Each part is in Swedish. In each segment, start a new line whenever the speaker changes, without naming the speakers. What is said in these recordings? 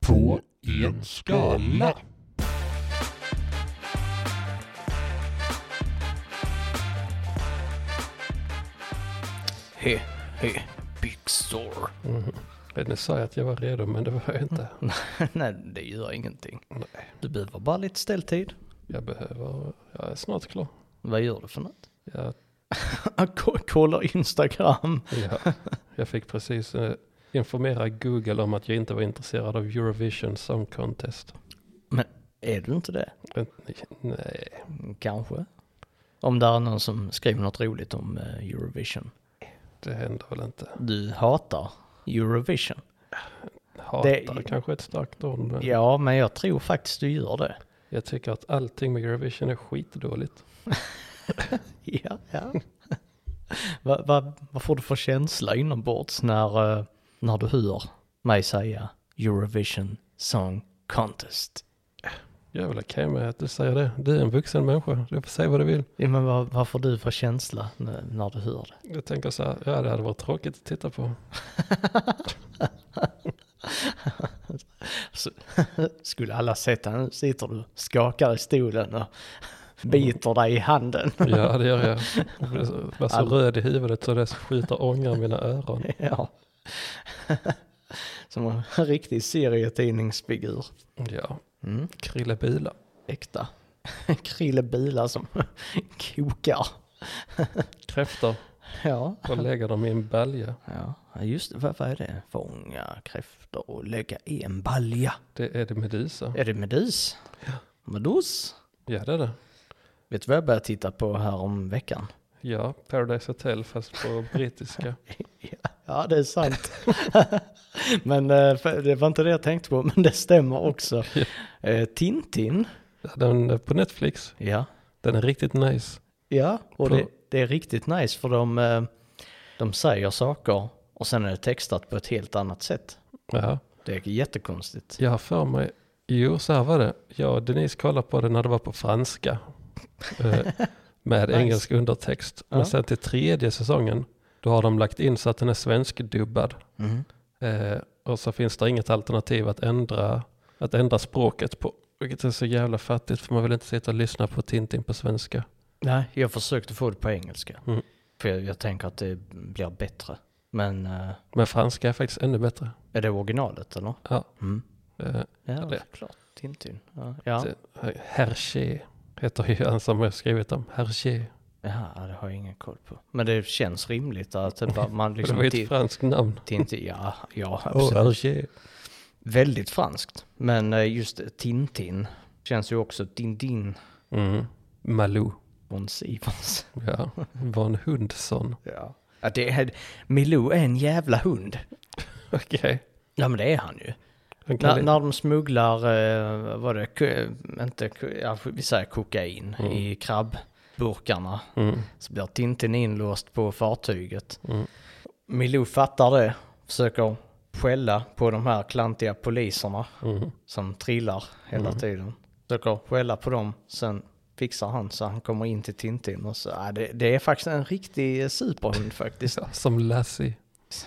på en skala.
He, he, big store.
Jag ville säga att jag var redo men det var jag inte.
Nej, det gör ingenting.
Nej,
Du behöver bara lite ställtid.
jag behöver, jag är snart klar.
Vad gör du för något?
Jag,
K- Kolla Instagram.
jag, jag fick precis eh, informera Google om att jag inte var intresserad av Eurovision Song Contest.
Men är du inte det?
Eh, Nej,
Kanske. Om det är någon som skriver något roligt om eh, Eurovision.
det händer väl inte.
Du hatar Eurovision.
Hatar
Det-
kanske ett starkt ord men
Ja, men jag tror faktiskt du gör det.
jag tycker att allting med Eurovision är skitdåligt.
Ja, ja. vad, vad, vad får du för känsla inombords när, eh, när du hör mig säga Eurovision Song Contest?
Jag är väl okej med att du säger det. Du är en vuxen människa, du får säga vad du vill.
Ja, men vad, vad får du för känsla när, när du hör det?
Jag tänker så här, ja det hade varit tråkigt att titta på.
Så, skulle alla sett det, nu sitter du och skakar i stolen och biter dig i handen.
Ja, det gör jag. Jag blir så- jag blir så
All-
röd i huvudet så det skjuter ånga i mina öron.
Ja. Som en riktig serietidningsfigur.
Ja,
Mm.
Krille Bila.
Äkta. Krillebilar som kokar.
Kräftor
Ja.
och lägger dem i en balja.
Ja, just det. Vad, vad är det? Fånga kräftor och lägga i en balja.
Det är det Medusa.
Är det medus? Ja. Medus?
Ja, det är det.
Vet du vad jag började titta på här om veckan?
Ja, Paradise Hotel fast på brittiska.
Ja, det är sant. men eh, för- det var inte det jag tänkte på, men det stämmer också. Eh, Tintin.
Den är på Netflix.
Ja.
Den är riktigt nice.
Ja, och
På-
det, det är riktigt nice för de, eh, de säger saker och sen är det textat på ett helt annat sätt.
Ja,
Det är jättekonstigt.
jag har för mig. Jo, så här var det. Jag och Denise kollade på den när det var på franska. Eh, Med
Nice.
engelsk undertext.
Ja.
Men sen till tredje säsongen, då har de lagt in så att den är svenskdubbad.
Mm.
Eh, och så finns det inget alternativ att ändra, att ändra språket på. Vilket är så jävla fattigt för man vill inte sitta och lyssna på Tintin på svenska.
Nej, jag försökte få det på engelska.
Mm.
För jag, jag tänker att det blir bättre. Men eh,
Men franska är faktiskt ännu bättre.
är det originalet eller?
Ja.
Mm.
Eh,
Ja,
det-
såklart. Tintin. Ja, ja.
det- Hergé heter ju han som har skrivit om. Hergé.
Jaha, ja, det har jag ingen koll på. Men det känns rimligt att det bara- man
Det
liksom...
var ju ett
Tintin,
franskt namn.
Tintin, ja, ja
Oh,
absolut.
Hergé.
Väldigt franskt. Men eh, just Tintin känns ju också Tintin
Mm. Malou.
från Sivers.
Ja. Von Hundsson.
Ja. ja det är, Milou är en jävla hund.
Okej.
Ja men det är han ju.
Han kan
När,
li-
när de smugglar, eh, vad var det, k- inte, k- ja, vi säger kokain
Mm.
i krabbburkarna.
Mm.
Så blir Tintin inlåst på fartyget.
Mm.
Milou fattar det, försöker skälla på de här klantiga poliserna
Mm.
som trillar hela
Mm.
tiden. Försöker skälla på dem, sen fixar han så han kommer in till Tintin och så, ja, det, det är faktiskt en riktig superhund faktiskt.
Ja, Som Lassie.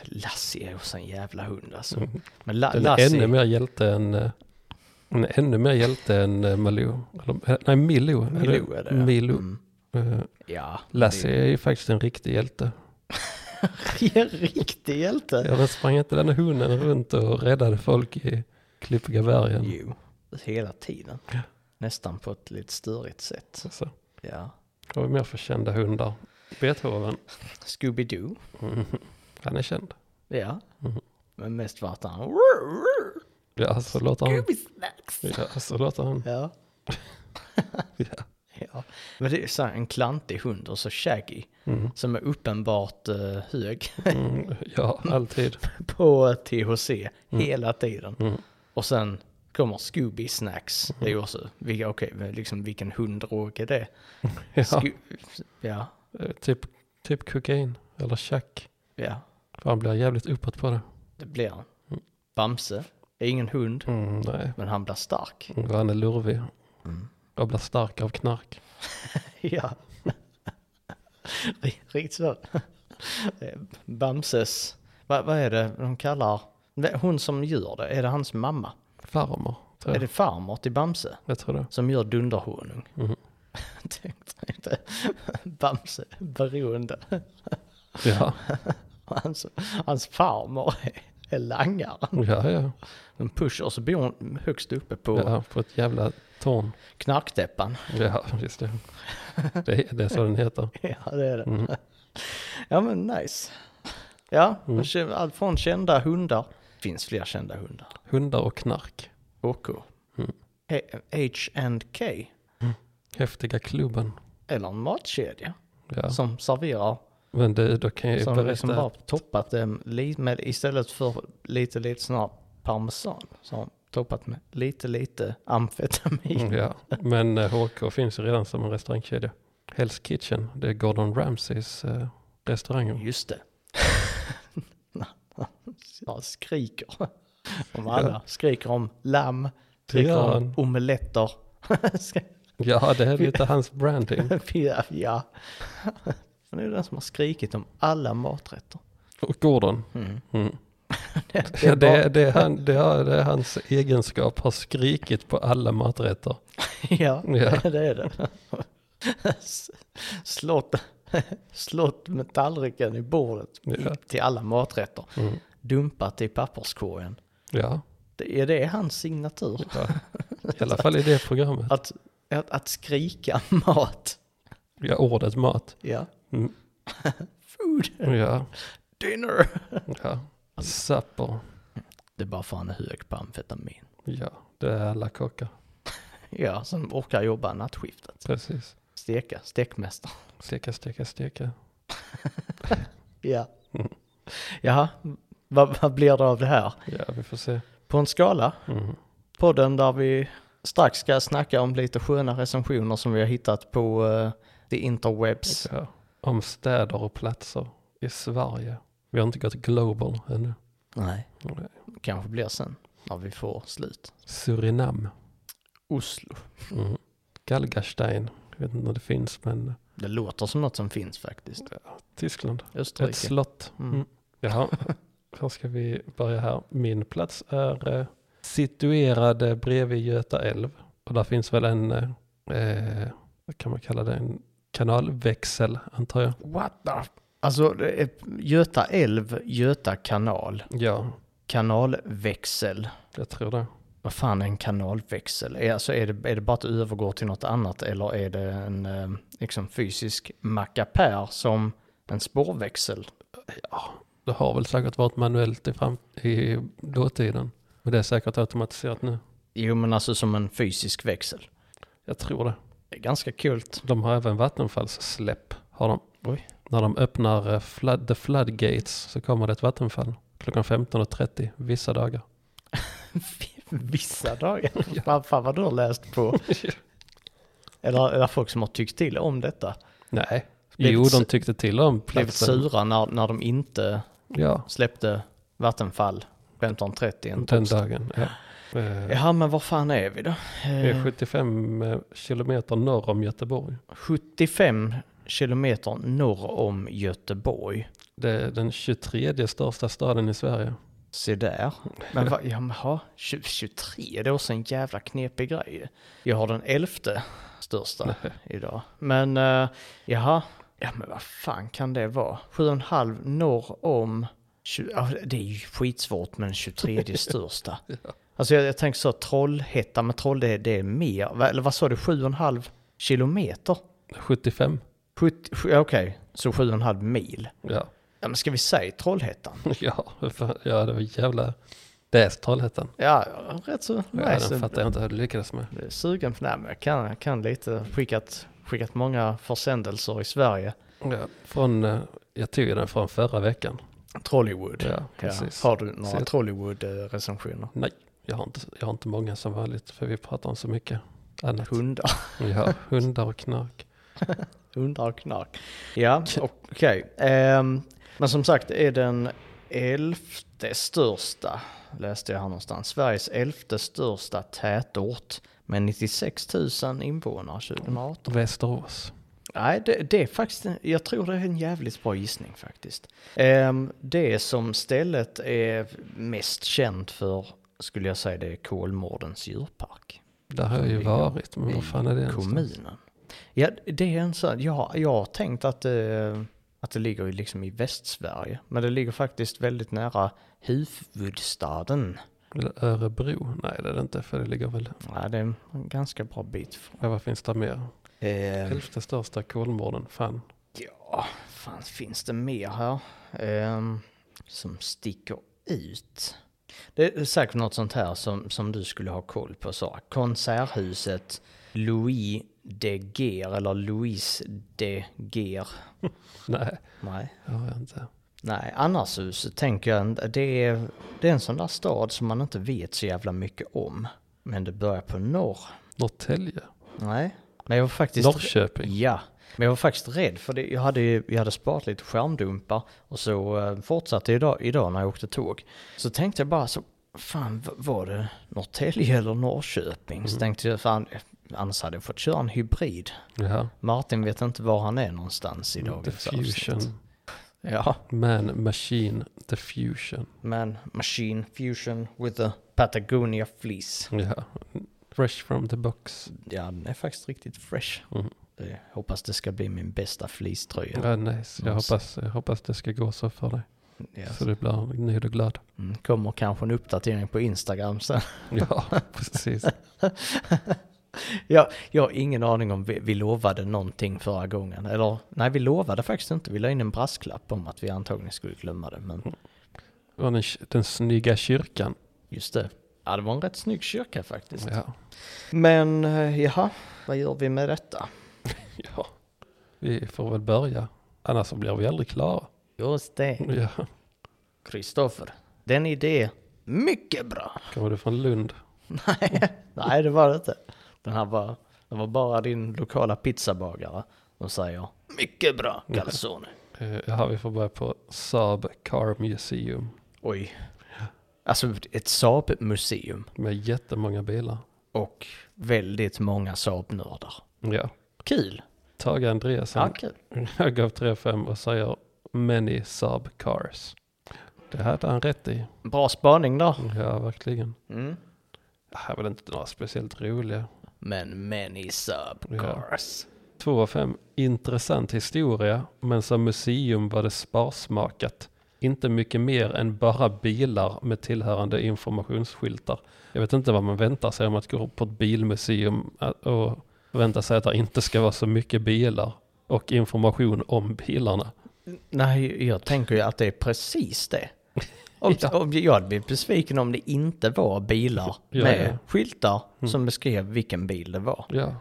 Lassie är också en jävla hund alltså.
Mm.
Men La-
Den är
Lassie,
ännu mer hjälte än... eh, Den är ännu mer hjälte än eh, Malou. Eller, eh, Nej, Milou. Eller-
Milou är det. ja.
Milou.
Mm.
Eh,
Ja.
Lassie är ju faktiskt en riktig hjälte.
det är en riktig hjälte.
Ja, men sprang inte den hunden runt och räddade folk i klippiga bergen?
Jo, hela tiden. Nästan på ett lite styrigt sätt.
Så,
Ja.
har vi mer för kända hundar? Beethoven,
Scooby-Doo.
mm. han är känd.
Ja.
Mhm.
Men mest vart han...
Ja, så låter han.
Scooby-snacks.
Ja, så låter han.
Ja.
Ja.
ja. Men det är så här en klantig hund och så Shaggy.
Mm.
Som är uppenbart eh, hög
Mm. ja, alltid.
på THC hela tiden.
Mm.
Och sen kommer Scooby-snacks. Det är ju också... vilka- Okej, men liksom vilken hundråge det är.
Ja,
Sco- ja.
eh, typ, typ kokain eller chack.
Ja,
För han blir jävligt uppåt på det.
det blir han.
Mm.
Bamse är ingen hund,
Mm, nej,
men han blir stark.
och han är lurvig.
Mm.
Och blir stark av knark.
ja. Ri- Riktigt så. Eh, Bamses, vad, vad är det de kallar, Nej, hon som gör det, är det hans mamma?
farmor, tror
Är
jag.
det farmor till Bamse
Jag tror det.
som gör dunderhonung?
Mhm.
Tänkte jag inte. Bamse beroende.
Ja,
Hans, hans farmor är, är langare.
ja, ja.
Den pusher så bor hon högst uppe på
ja på ett jävla torn.
knarktäppan.
Ja, visst det. Det är, det är så den heter.
Ja, det är det.
Mm.
Ja, men nice. Ja,
Mm.
kä- allt från kända hundar. Finns fler kända hundar.
Hundar och knark.
OK.
Mm.
H- H&K.
Häftiga klubben.
Eller en matkedja
Ja.
som serverar.
Men du, då kan jag ju
Som liksom bara
berätta.
toppat dem li- med istället för lite, lite sån här parmesan. Så har de toppat med lite, lite amfetamin.
Mm, Ja. Men eh, HK finns ju redan som en restaurangkedja. Hell's Kitchen, det är Gordon Ramsays eh, restaurang.
Just det. Han skriker om alla. Skriker om lamm,
Det
skriker
gör
om
han.
omeletter.
Ja, det är lite hans branding.
ja, ja. Han är ju den som har skrikit om alla maträtter.
Och Gordon.
Mm.
Mm.
Det
Ja,
är
det,
bara,
är- det, är han, det, är, det är hans egenskap, har skrikit på alla maträtter.
ja,
Ja.
det är det. S- Slått, slått med tallriken i bordet
Ja.
till alla maträtter.
Mm.
Dumpat i papperskorgen.
Ja,
Det är det hans signatur.
ja. i alla fall i det programmet.
Att, att, att skrika mat.
Ja, ordet mat.
Ja.
Mm.
Food,
Ja,
dinner.
ja. Supper.
Det är bara för han är hög på amfetamin.
Ja, det är alla kockar.
Ja, som orkar jobba nattskiftet.
Precis.
Steka, stekmästare.
Steka, steka, steka.
Ja.
Mm.
Jaha, vad, vad blir det av det här?
Ja, vi får se.
På en skala,
Mm.
podden där vi strax ska snacka om lite sköna recensioner som vi har hittat på eh, the interwebs.
Ja. Om städer och platser i Sverige. Vi har inte gått global ännu.
Nej.
Nej.
Kanske blir sen, när vi får slut.
Surinam.
Oslo.
Mm. Galgastein. Jag vet inte om det finns, men
Det låter som något som finns faktiskt.
Tyskland. Ett
Österrike.
slott.
Mm.
Mm. Jaha, här ska vi börja här. Min plats är eh, situerad eh, bredvid Göta älv. Och där finns väl en, eh, eh, vad kan man kalla det, en kanalväxel antar jag.
What the? Alltså, det är Göta älv, Göta kanal,
Ja,
kanalväxel.
jag tror det.
Vad fan är en kanalväxel? Är, alltså, är, det, är det bara att det övergår till något annat eller är det en eh, liksom, fysisk mackapär som en spårväxel?
Det har väl säkert varit manuellt i, fram- i dåtiden. Men det är säkert automatiserat nu.
Jo men alltså som en fysisk växel.
Jag tror det.
Det är ganska coolt.
De har även vattenfallssläpp. Har de.
Oj.
När de öppnar eh, flood, the floodgates så kommer det ett vattenfall. Klockan 15.30 vissa dagar.
Vissa dagar. Fan, fan vad du har läst på. eller, eller folk som har tyckt till om detta.
Nej.
Blivit
jo, de
su-
tyckte till om
Blivit
platsen.
sura när, när de inte
Ja,
släppte Vattenfall 15.30 en
den
torsdag.
dagen. Ja. Eh,
Jaha men var fan är vi då?
det är
Eh,
75 eh, kilometer norr om Göteborg.
75 Eh, kilometer norr om Göteborg.
Det är den 23 största staden i Sverige.
Se där. Men vad, jaha, 20, 23, det är också en jävla knepig grej. Jag har den elfte största idag. Men uh, jaha, ja men vad fan kan det vara? 7,5 norr om, 20, ja, det är ju skitsvårt med den 23 största. Alltså jag, jag tänker så, Trollhättan, men Troll det, det är mer, Va- eller vad sa du, 7,5 kilometer?
75?
70 sju- ja, Okej, så 7,5 mil.
Ja,
Ja, men ska vi säga Trollhättan?
ja, fan, ja det var jävla... Det är Trollhättan.
Ja, rätt så
Ja, den
nice.
fattar jag inte hur du lyckades med.
Jag är eh, sugen på, nej men jag kan, jag kan lite, skickat, skickat många försändelser i Sverige.
Ja, från, eh, jag tog ju den från förra veckan.
Trollywood.
Ja, precis.
Har du några eh,
Så-
Trollywood-recensioner?
Nej, jag har, inte, jag har inte många som vanligt för vi pratar om så mycket annat.
Hundar,
Ja, hundar och knark.
hundar och knark. Ja, okej. Ehm, men som sagt är den elfte största, läste jag här någonstans, Sveriges elfte största tätort med 96 000
Mm.
invånare 2018.
Västerås.
Nej, det, det är faktiskt, en- jag tror det är en jävligt bra gissning faktiskt. Ehm, det som stället är mest känt för skulle jag säga det är Kolmårdens djurpark.
Där har jag ju
ligger
varit, men vad fan är det? någonstans?
Kommunen. Ja, det är en sån, ja, jag har tänkt att, det- att det ligger ju liksom i Västsverige. Men det ligger faktiskt väldigt nära huvudstaden.
Eller Örebro? Nej, det är det inte, för det ligger väl...
Ja, det är en ganska bra bit från.
Ja, vad finns det mer?
Eh,
Elfte största Kolmården, fan.
Ja, fan finns det mer här ehm, som sticker ut? Det är säkert något sånt här som, som du skulle ha koll på, Sara. Konserthuset Louis de Geer, eller Louis de Geer.
Nej,
Nej.
det har jag inte.
Nej, annars så tänker jag, det är, det är en sån där stad som man inte vet så jävla mycket om. Men det börjar på norr.
Norrtälje?
Nej. Men jag var faktiskt...
Norrköping?
Ja, men jag var faktiskt rädd för det. Jag hade, ju- jag hade sparat lite skärmdumpar och så eh, fortsatte idag, idag när jag åkte tåg. Så tänkte jag bara så, fan v- var det Norrtälje eller Norrköping? Så
Mm.
tänkte jag, fan eh, annars hade jag fått köra en hybrid.
Ja.
Martin vet inte var han är någonstans i
The
dagens
Fusion.
avsnitt. Ja,
Man, Machine, The Fusion.
man, machine, fusion with the Patagonia fleece.
Ja. Fresh from the box.
Ja, den är faktiskt riktigt fresh.
Mm.
Eh, Hoppas det ska bli min bästa fleecetröja.
Ja, nice. Jag
Nice.
hoppas, jag hoppas det ska gå så för dig.
Ja,
Så du blir nöjd och glad.
Mm, kommer kanske en uppdatering på Instagram sen.
Ja, precis.
jag, jag har ingen aning om vi, vi lovade någonting förra gången. Eller nej, vi lovade faktiskt inte. Vi la in en brasklapp om att vi antagligen skulle glömma det. Men
Och den, den snygga kyrkan.
just det. Ja, det var en rätt snygg kyrka faktiskt.
Ja.
Men eh, jaha, vad gör vi med detta?
ja. Vi får väl börja. Annars så blir vi aldrig klara.
Just det.
Ja.
Kristoffer, den idé, mycket bra.
Kommer du från Lund?
nej, nej, det var det inte. Den här var, det var bara din lokala pizzabagare. De säger, mycket bra calzone.
Eh, Ja, vi får börja på Saab Car Museum.
Oj. Alltså ett Saab-museum
Med jättemånga bilar.
och väldigt många Saab-nördar.
Ja.
Kul! Mm.
Tage
Ja,
Andreasson
kul.
Jag gav 3-5 och säger many Saab cars. Det hade han rätt i.
Bra spaning där.
Ja, verkligen.
Mm.
Det här är väl inte några speciellt roliga.
Men many Saab-cars.
2 5. Intressant historia, men som museum var det sparsmakat. Inte mycket mer än bara bilar med tillhörande informationsskyltar. Jag vet inte vad man väntar sig om att gå på ett bilmuseum ä- och vänta sig att det inte ska vara så mycket bilar och information om bilarna.
Nej, jag tänker ju att det är precis det. Om,
Ja.
om jag hade blivit besviken om det inte var bilar
Ja,
med
ja. Mm.
skyltar som beskrev vilken bil det var.
Ja.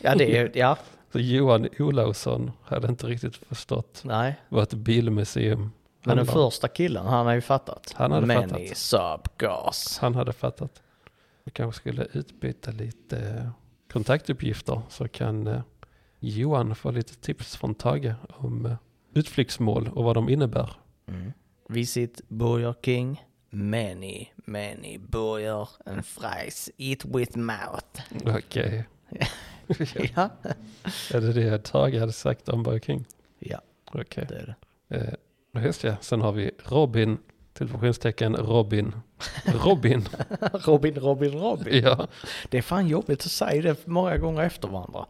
Ja, det är ja,
Så Johan Olausson hade inte riktigt förstått
nej.
vad ett bilmuseum
Men den
handlar om.
första killen, han har ju fattat.
Han hade
many
fattat.
Saab-cars.
Han hade fattat. Vi kanske skulle utbyta lite eh, kontaktuppgifter så kan eh, Johan få lite tips från Tage om eh, utflyktsmål och vad de innebär.
Mm. Visit Burger King. Many, many burger and fries. Eat with mouth.
Okej,
ja.
är det det Tage hade sagt om Burger King?
ja,
Okej.
det är det.
Eh, just ja, sen har vi Robin, tillfusionstecken Robin. Robin,
Robin, Robin, Robin.
ja.
Det är fan jobbigt att säga det många gånger efter varandra.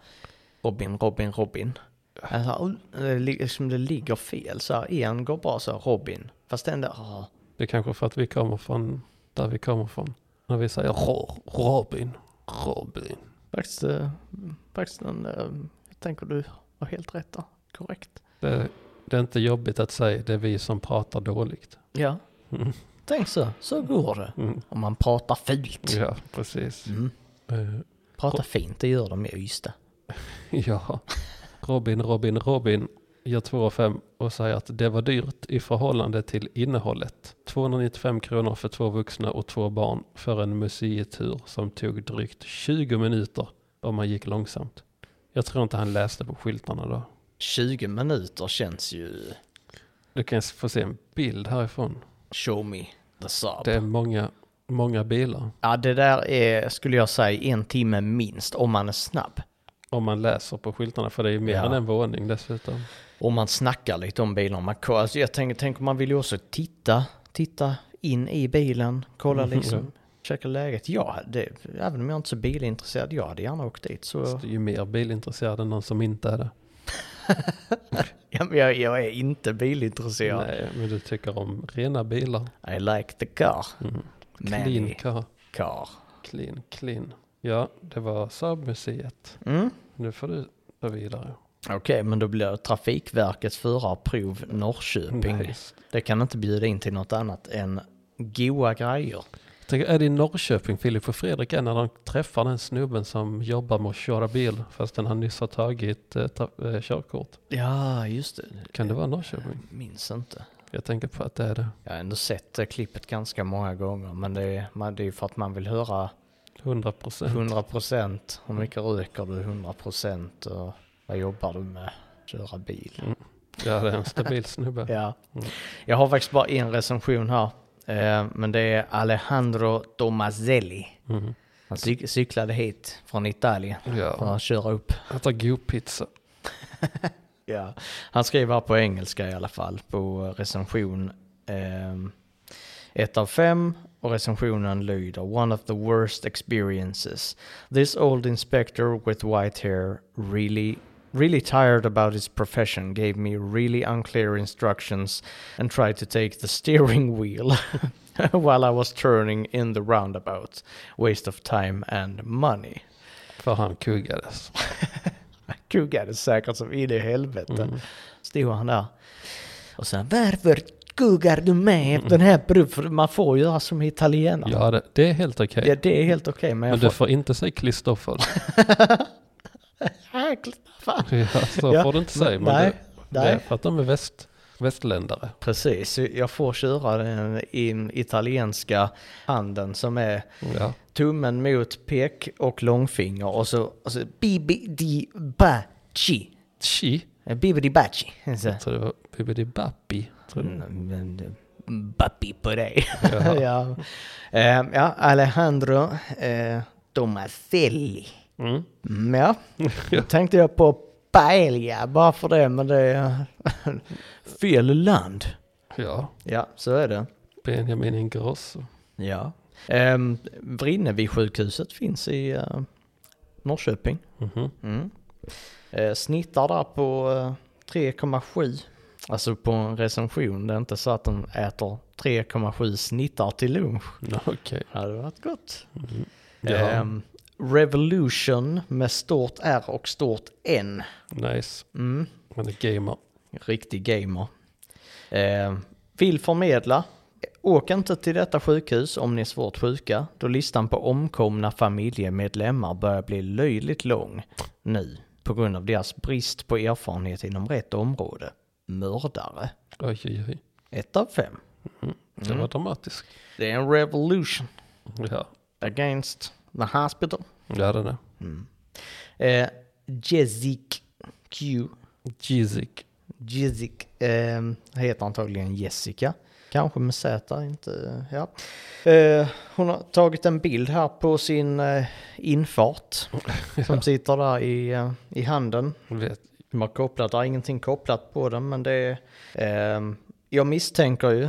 Robin, Robin, Robin. Alltså, uh, det li- liksom det ligger fel så här. En går bra så här, Robin. Fast den där, ah,
Det är kanske för att vi kommer från där vi kommer från. När vi säger Ro- Robin, Robin.
faktiskt, eh, faktiskt en, eh, jag tänker du har helt rätt där. Korrekt.
Det, det är inte jobbigt att säga, det är vi som pratar dåligt.
Ja,
Mm.
tänk så. Så går det.
Mm.
Om man pratar fult.
Ja, precis.
Mm.
Eh,
Prata fint, det gör de i Ystad.
ja, Robin, Robin, Robin gör 2 och fem och säger att det var dyrt i förhållande till innehållet. 295 kronor för två vuxna och två barn för en museitur som tog drygt 20 minuter om man gick långsamt. Jag tror inte han läste på skyltarna då.
20 minuter känns ju...
Du kan få se en bild härifrån.
Show me the Saab.
Det är många, många bilar.
Ja, det där är, skulle jag säga, en timme minst om man är snabb.
Om man läser på skyltarna, för det är ju mer
Ja.
än en våning dessutom.
Om man snackar lite om bilarna. Man, ko- alltså jag tänker, tänker man vill ju också titta, titta in i bilen, kolla
Mhm,
liksom,
ja.
checka läget. Ja, det, även om jag inte är så bilintresserad, jag hade gärna åkt dit. Så,
Fast Du är ju mer bilintresserad än någon som inte är det.
ja, men jag, jag är inte bilintresserad.
Nej, men du tycker om rena bilar.
I like the car,
Mm. Clean
many
car.
car.
Clean, clean. Ja, det var Saab-museet.
Mm.
Nu får du ta vidare.
Okej, men då blir det Trafikverkets förarprov Norrköping.
Nice.
Det kan inte bjuda in till något annat än goa grejer.
Tänk, är det i Norrköping Filip och Fredrik är när de träffar den snubben som jobbar med att köra bil fastän han nyss har tagit eh, tra- eh, körkort?
Ja, just det.
Kan det vara Norrköping?
Minns inte.
Jag tänker på att det är det.
Jag har ändå sett det klippet ganska många gånger, men det är, man, det är ju för att man vill höra
100 procent.
100 procent. Hur mycket röker du? 100 procent. Och vad jobbar du med? Köra bil.
Ja, det är en stabil snubbe.
Ja.
Mm.
Jag har faktiskt bara en recension här, eh, men det är Alejandro Tomazelli.
Mhm.
Han cy- cyklade hit från Italien för
Ja,
att köra upp.
äta god pizza.
Ja. Han skrev här på engelska i alla fall på recension ehm, ett av fem och recensionen lyder One of the worst experiences. This old inspector with white hair really really tired about his profession gave me really unclear instructions and tried to take the steering wheel while I was turning in the roundabout. Waste of time and money.
För han kuggades.
Kuggade säkert som in i helvete.
Mm.
Stod han där. Och sen varför kuggar du med den här bru-" För Man får göra som italienare.
Mm. Ja, det, det är helt okej.
Ja, det är helt okej. men
Men
jag
du
får...
får inte säga Kristoffer.
Ah, fan.
Ja, så
Ja,
får du inte säga. Men
nej,
det, det är
nej.
för att de är väst, västländare.
Precis, jag får köra den i italienska handen som är
Ja.
tummen mot pek och långfinger och så, och så bibidi baci.
Chi.
Bibidi baci.
Jag tror det var Bibbidi Bappi. tror jag.
Bappi på dig.
Jaha.
Mm, ja. Eh, ja, Alejandro eh, Tomaselli.
Mm.
Mm, ja, då tänkte jag på paella bara för det, men det är fel land.
Ja.
Ja, så är det.
Benjamin Ingrosso.
Ja. Eh, Vrinnevi-sjukhuset finns i eh, Norrköping.
Mhm.
Mm. Eh, snittar där på eh, 3,7. Alltså på en recension, det är inte så att de äter 3,7 snittar till lunch.
Ja, Okej.
Det hade varit gott.
Ja.
Ehm, Revolution med stort R och stort N.
Nice.
Mm.
Han är gamer.
Riktig gamer. Ehm, vill förmedla. Åk inte till detta sjukhus om ni är svårt sjuka, då listan på omkomna familjemedlemmar börjar bli löjligt lång nu på grund av deras brist på erfarenhet inom rätt område. Mördare.
Oj, oj, oj.
Ett av fem.
Det
Mm.
var dramatiskt.
Det är en revolution
Ja.
against the hospital.
Ja, det är det.
Eh, Jezik Q.
Jeezik.
Jezik eh, heter antagligen Jessica. Kanske med Z, inte... Ja. Eh, hon har tagit en bild här på sin eh, infart. Som sitter där i, eh, i handen.
Vet.
De har kopplat, det är ingenting kopplat på den men det är... Eh, jag misstänker ju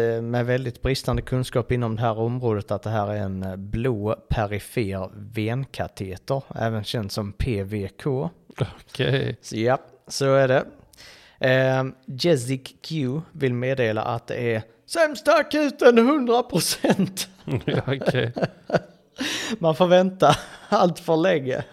eh, med väldigt bristande kunskap inom det här området att det här är en eh, blå perifer venkateter, även känd som PVK.
Okej.
Så ja, så är det. Eh, Jezik Q vill meddela att det är sämsta akuten 100%.
Ja, Okej.
Man får vänta allt för länge.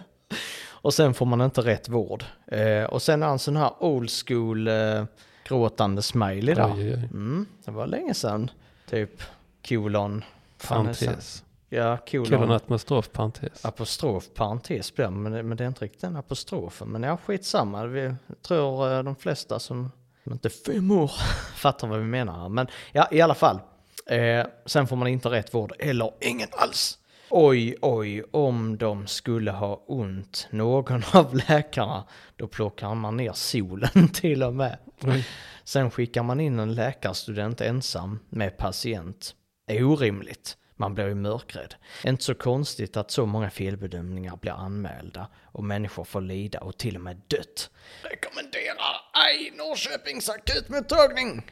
Och sen får man inte rätt vård. Eh, och sen är han sån här old school eh, gråtande smiley
Oj,
där.
oj, oj.
Mm, det var länge sedan. Typ kolon. Fan, det är sant.
Parentes.
Ja, kolon.
Kolon apostrof parentes.
Apostrof, parentes blir det, men, det- men det är inte riktigt den apostrofen. Men ja, skitsamma. Vi tror eh, de flesta som som inte är fem år fattar vad vi menar. här. Men ja, i alla fall. Eh, sen får man inte rätt vård eller ingen alls. Oj, oj, om de skulle ha ont, någon av läkarna, då plockar man ner solen till och med.
Oj.
Sen skickar man in en läkarstudent ensam med patient. Det är orimligt. Man blir ju mörkrädd. Inte så konstigt att så många felbedömningar blir anmälda och människor får lida och till och med dött. Rekommenderar
Mm-hmm.
ej Norrköpings akutmottagning!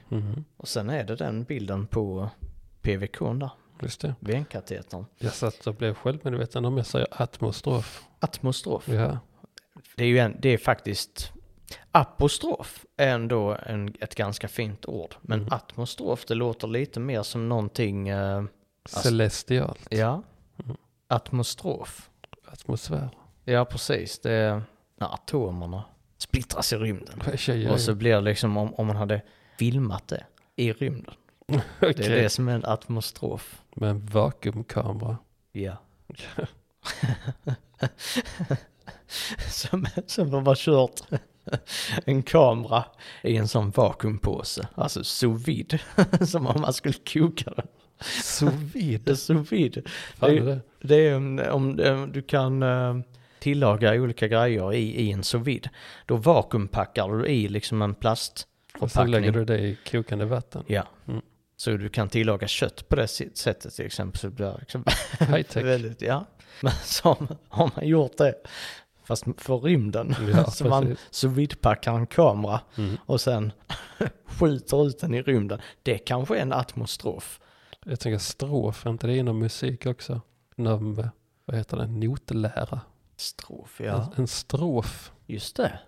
Och sen är det den bilden på PVK där.
Just det.
Venkatetern.
Jag satt och blev självmedveten om jag säger atmostrof.
Atmostrof.
Ja.
Det är ju en, det är faktiskt apostrof är ändå en, ett ganska fint ord. Men
Mm.
atmostrof det låter lite mer som någonting, eh, Alltså-
Celestial.
ja,
Mm.
atmostrof.
Atmosfär.
Ja precis, det är när atomerna splittras i rymden.
Vad tjejer
Och så blir det liksom om, om man hade filmat det i rymden.
Okej.
Det är det som är en atmostrof.
Med en vakuumkamera.
Ja. som, som har bara kört en kamera i en sån vakuumpåse, alltså sous vide, som om man skulle koka den.
Sous vide.
Det är Sous vide,
Fan är det?
det är om, om, om du kan eh, tillaga olika grejer i, i en sous vide. Då vakuumpackar du i liksom en
Och sen lägger
plastförpackning.
du det i kokande vatten.
Ja.
Mm.
Så du kan tillaga kött på det si- sättet till exempel. Så blir det liksom
High tech.
Väldigt, ja. Men som har man gjort det, fast för rymden.
Ja,
så man
precis.
sous vide-packar en kamera
Mm.
och sen skjuter ut den i rymden. Det kanske är en atmostrof.
Jag tänker strof, är inte det inom musik också? Inom, eh, vad heter det, notlära?
Strof, ja.
En, en strof.
Just det.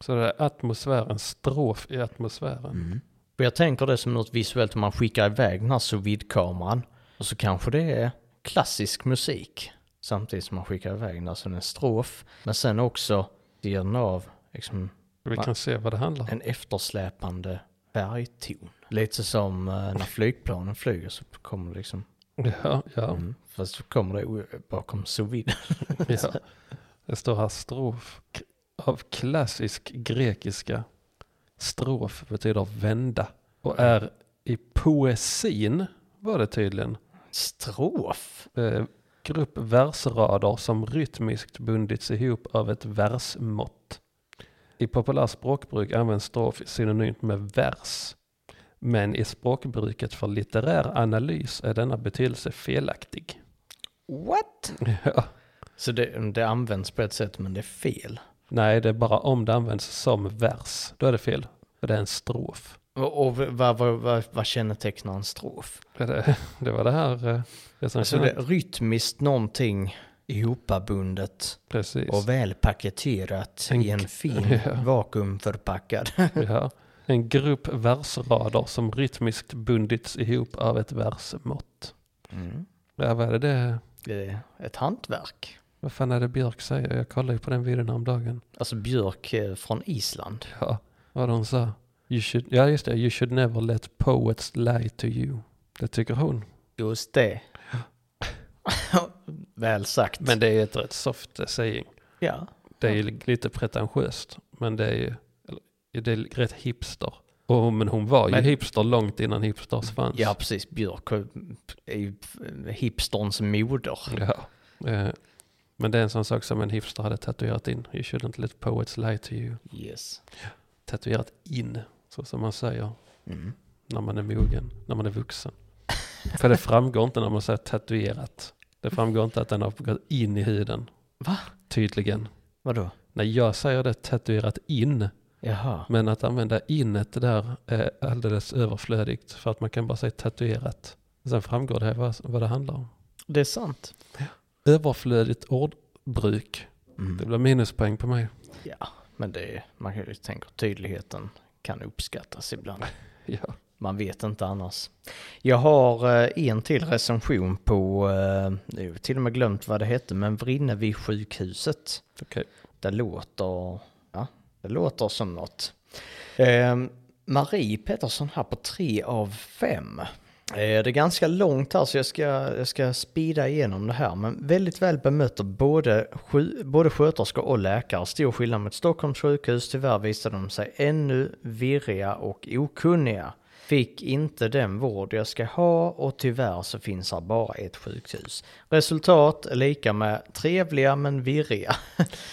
Så det är atmosfären, strof i atmosfären.
Och jag tänker det som något visuellt om man skickar iväg den här sous vide-kameran. Och så kanske det är klassisk musik. Samtidigt som man skickar iväg den, alltså en strof. Men sen också ger den av liksom,
Vi kan se vad det handlar om.
en eftersläpande färgton. Lite som eh, när flygplanen flyger så kommer det liksom,
Ja, ja,
mm, fast så kommer det o- bakom sous vide.
ja. Det står här strof. Av klassisk grekiska. Strof betyder vända. Och är i poesin, var det tydligen,
Strof?
eh, grupp versrader som rytmiskt bundits ihop av ett versmått. I populärt språkbruk används strof synonymt med vers. Men i språkbruket för litterär analys är denna betydelse felaktig.
What?
Ja.
Så det, det används på ett sätt men det är fel.
Nej, det är bara om det används som vers. Då är det fel. För det är en strof.
Och, och vad, vad, vad, vad kännetecknar en strof?
Ja, Det, det var det här. eh, Det som
Alltså det är rytmiskt någonting ihopabundet
Precis.
och välpaketerat
En-
i en fin
Ja.
vakuumförpackad.
Ja. En grupp versrader som rytmiskt bundits ihop av ett versmått.
Mm.
Ja, vad är det det?
Det är ett hantverk.
Vad fan är det Björk säger? Jag kollade ju på den videon häromdagen.
Alltså björk eh, från Island.
Ja, vad hon sa. You should, ja, just det. You should never let poets lie to you. Det tycker hon.
Just det. Väl sagt.
Men det är ett rätt soft eh, saying.
ja.
Det är ju lite pretentiöst, men det är ju eller, det är rätt hipster. Och, men hon var ju
Men- Mm,
hipster långt innan hipsters fanns.
ja, precis. Björk är ju hipsterns moder.
Ja. Eh, Men det är en sån sak som en hipster hade tatuerat in. You shouldn't let poets lie to you.
Yes.
Tatuerat in, så som man säger
Mm.
när man är mogen, när man är vuxen. För det framgår inte när man säger tatuerat. Det framgår inte att den har gått in i huden.
Va?
Tydligen.
Vadå?
När jag säger det tatuerat in,
Jaha.
Men att använda inet där är alldeles överflödigt för att man kan bara säga tatuerat. Sen framgår det här vad, vad det handlar om.
Det är sant.
Överflödigt ordbruk. Det
Mm.
blir minuspoäng på mig.
Ja, men det är, man kan ju tänka att tydligheten kan uppskattas ibland.
Ja.
Man vet inte annars. Jag har eh, en till recension på, eh, jag har till och med glömt vad det hette, men Vrinnevi sjukhuset.
Okej.
Det låter, ja, det låter som något. Eh, Marie Pettersson här på tre av fem. Eh, det är ganska långt här så jag ska, jag ska speeda igenom det här. Men väldigt väl bemöter både, sju- både sköterska och läkare. Stor skillnad mot Stockholms sjukhus. Tyvärr visade de sig ännu virriga och okunniga. Fick inte den vård jag ska ha och tyvärr så finns här bara ett sjukhus. Resultat är lika med trevliga men virriga.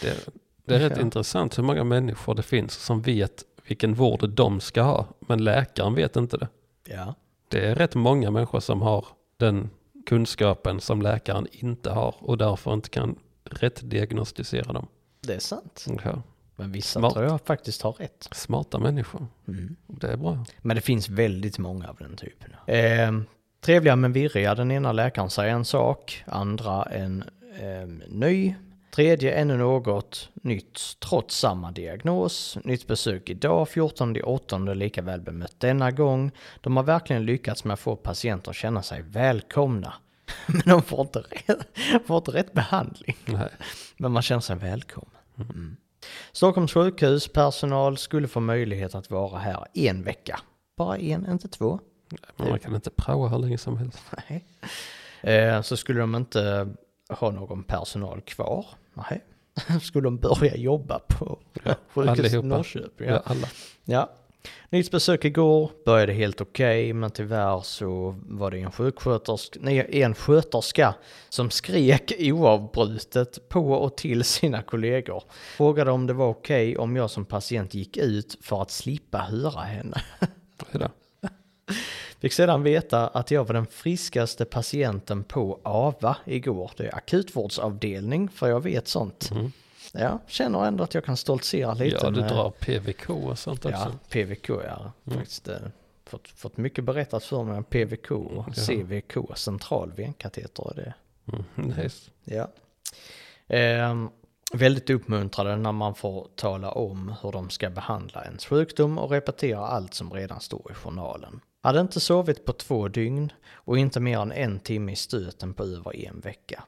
Det, det är rätt
Ja.
intressant hur många människor det finns som vet vilken vård de ska ha. Men läkaren vet inte det.
Ja.
Det är rätt många människor som har den kunskapen som läkaren inte har och därför inte kan rätt diagnostisera dem.
Det är sant.
Ja.
Men vissa
Smart.
tror jag faktiskt har rätt.
Mm. Smarta människor. Det är bra.
Men det finns väldigt många av den typen. Eh, Trevliga men virriga. Den ena läkaren säger en sak, andra en ehm, ny. Tredje ännu något nytt trots samma diagnos. Nytt besök idag 14.8 lika väl bemött denna gång. De har verkligen lyckats med att få patienter att känna sig välkomna. Men de får inte rätt, får inte rätt behandling.
Nej.
Men man känner sig välkommen. Mm. Stockholms sjukhus personal skulle få möjlighet att vara här en vecka. Bara en, inte två.
Men
Typ.
man kan inte praoa hur länge som helst.
Nej. Eh, så skulle de inte ha någon personal kvar. Nej. Skulle de börja jobba på sjukhuset i
allihopa.
Norrköping?
Ja,
Ja.
alla.
ja. Nytt besök igår började helt okej, men tyvärr så var det en sjuksköterska, nej, en sköterska som skrek oavbrutet på och till sina kollegor. Frågade om det var okej om jag som patient gick ut för att slippa höra henne.
Det där.
Fick sedan veta att jag var den friskaste patienten på AVA igår. Det är akutvårdsavdelning, för jag vet sånt. Ja, känner ändå att jag kan stoltsera lite
Mm. Ja, du
med
drar PVK och sånt
ja,
också.
PVK. Ja, faktiskt, eh, fått, fått mycket berättat för mig om PVK och CVK, central venkateter. är Det.
Mm, nice.
Ja. Ehm, väldigt uppmuntrade när man får tala om hur de ska behandla ens sjukdom och repetera allt som redan står i journalen. Hade inte sovit på två dygn och inte mer än en timme i stöten på över en vecka.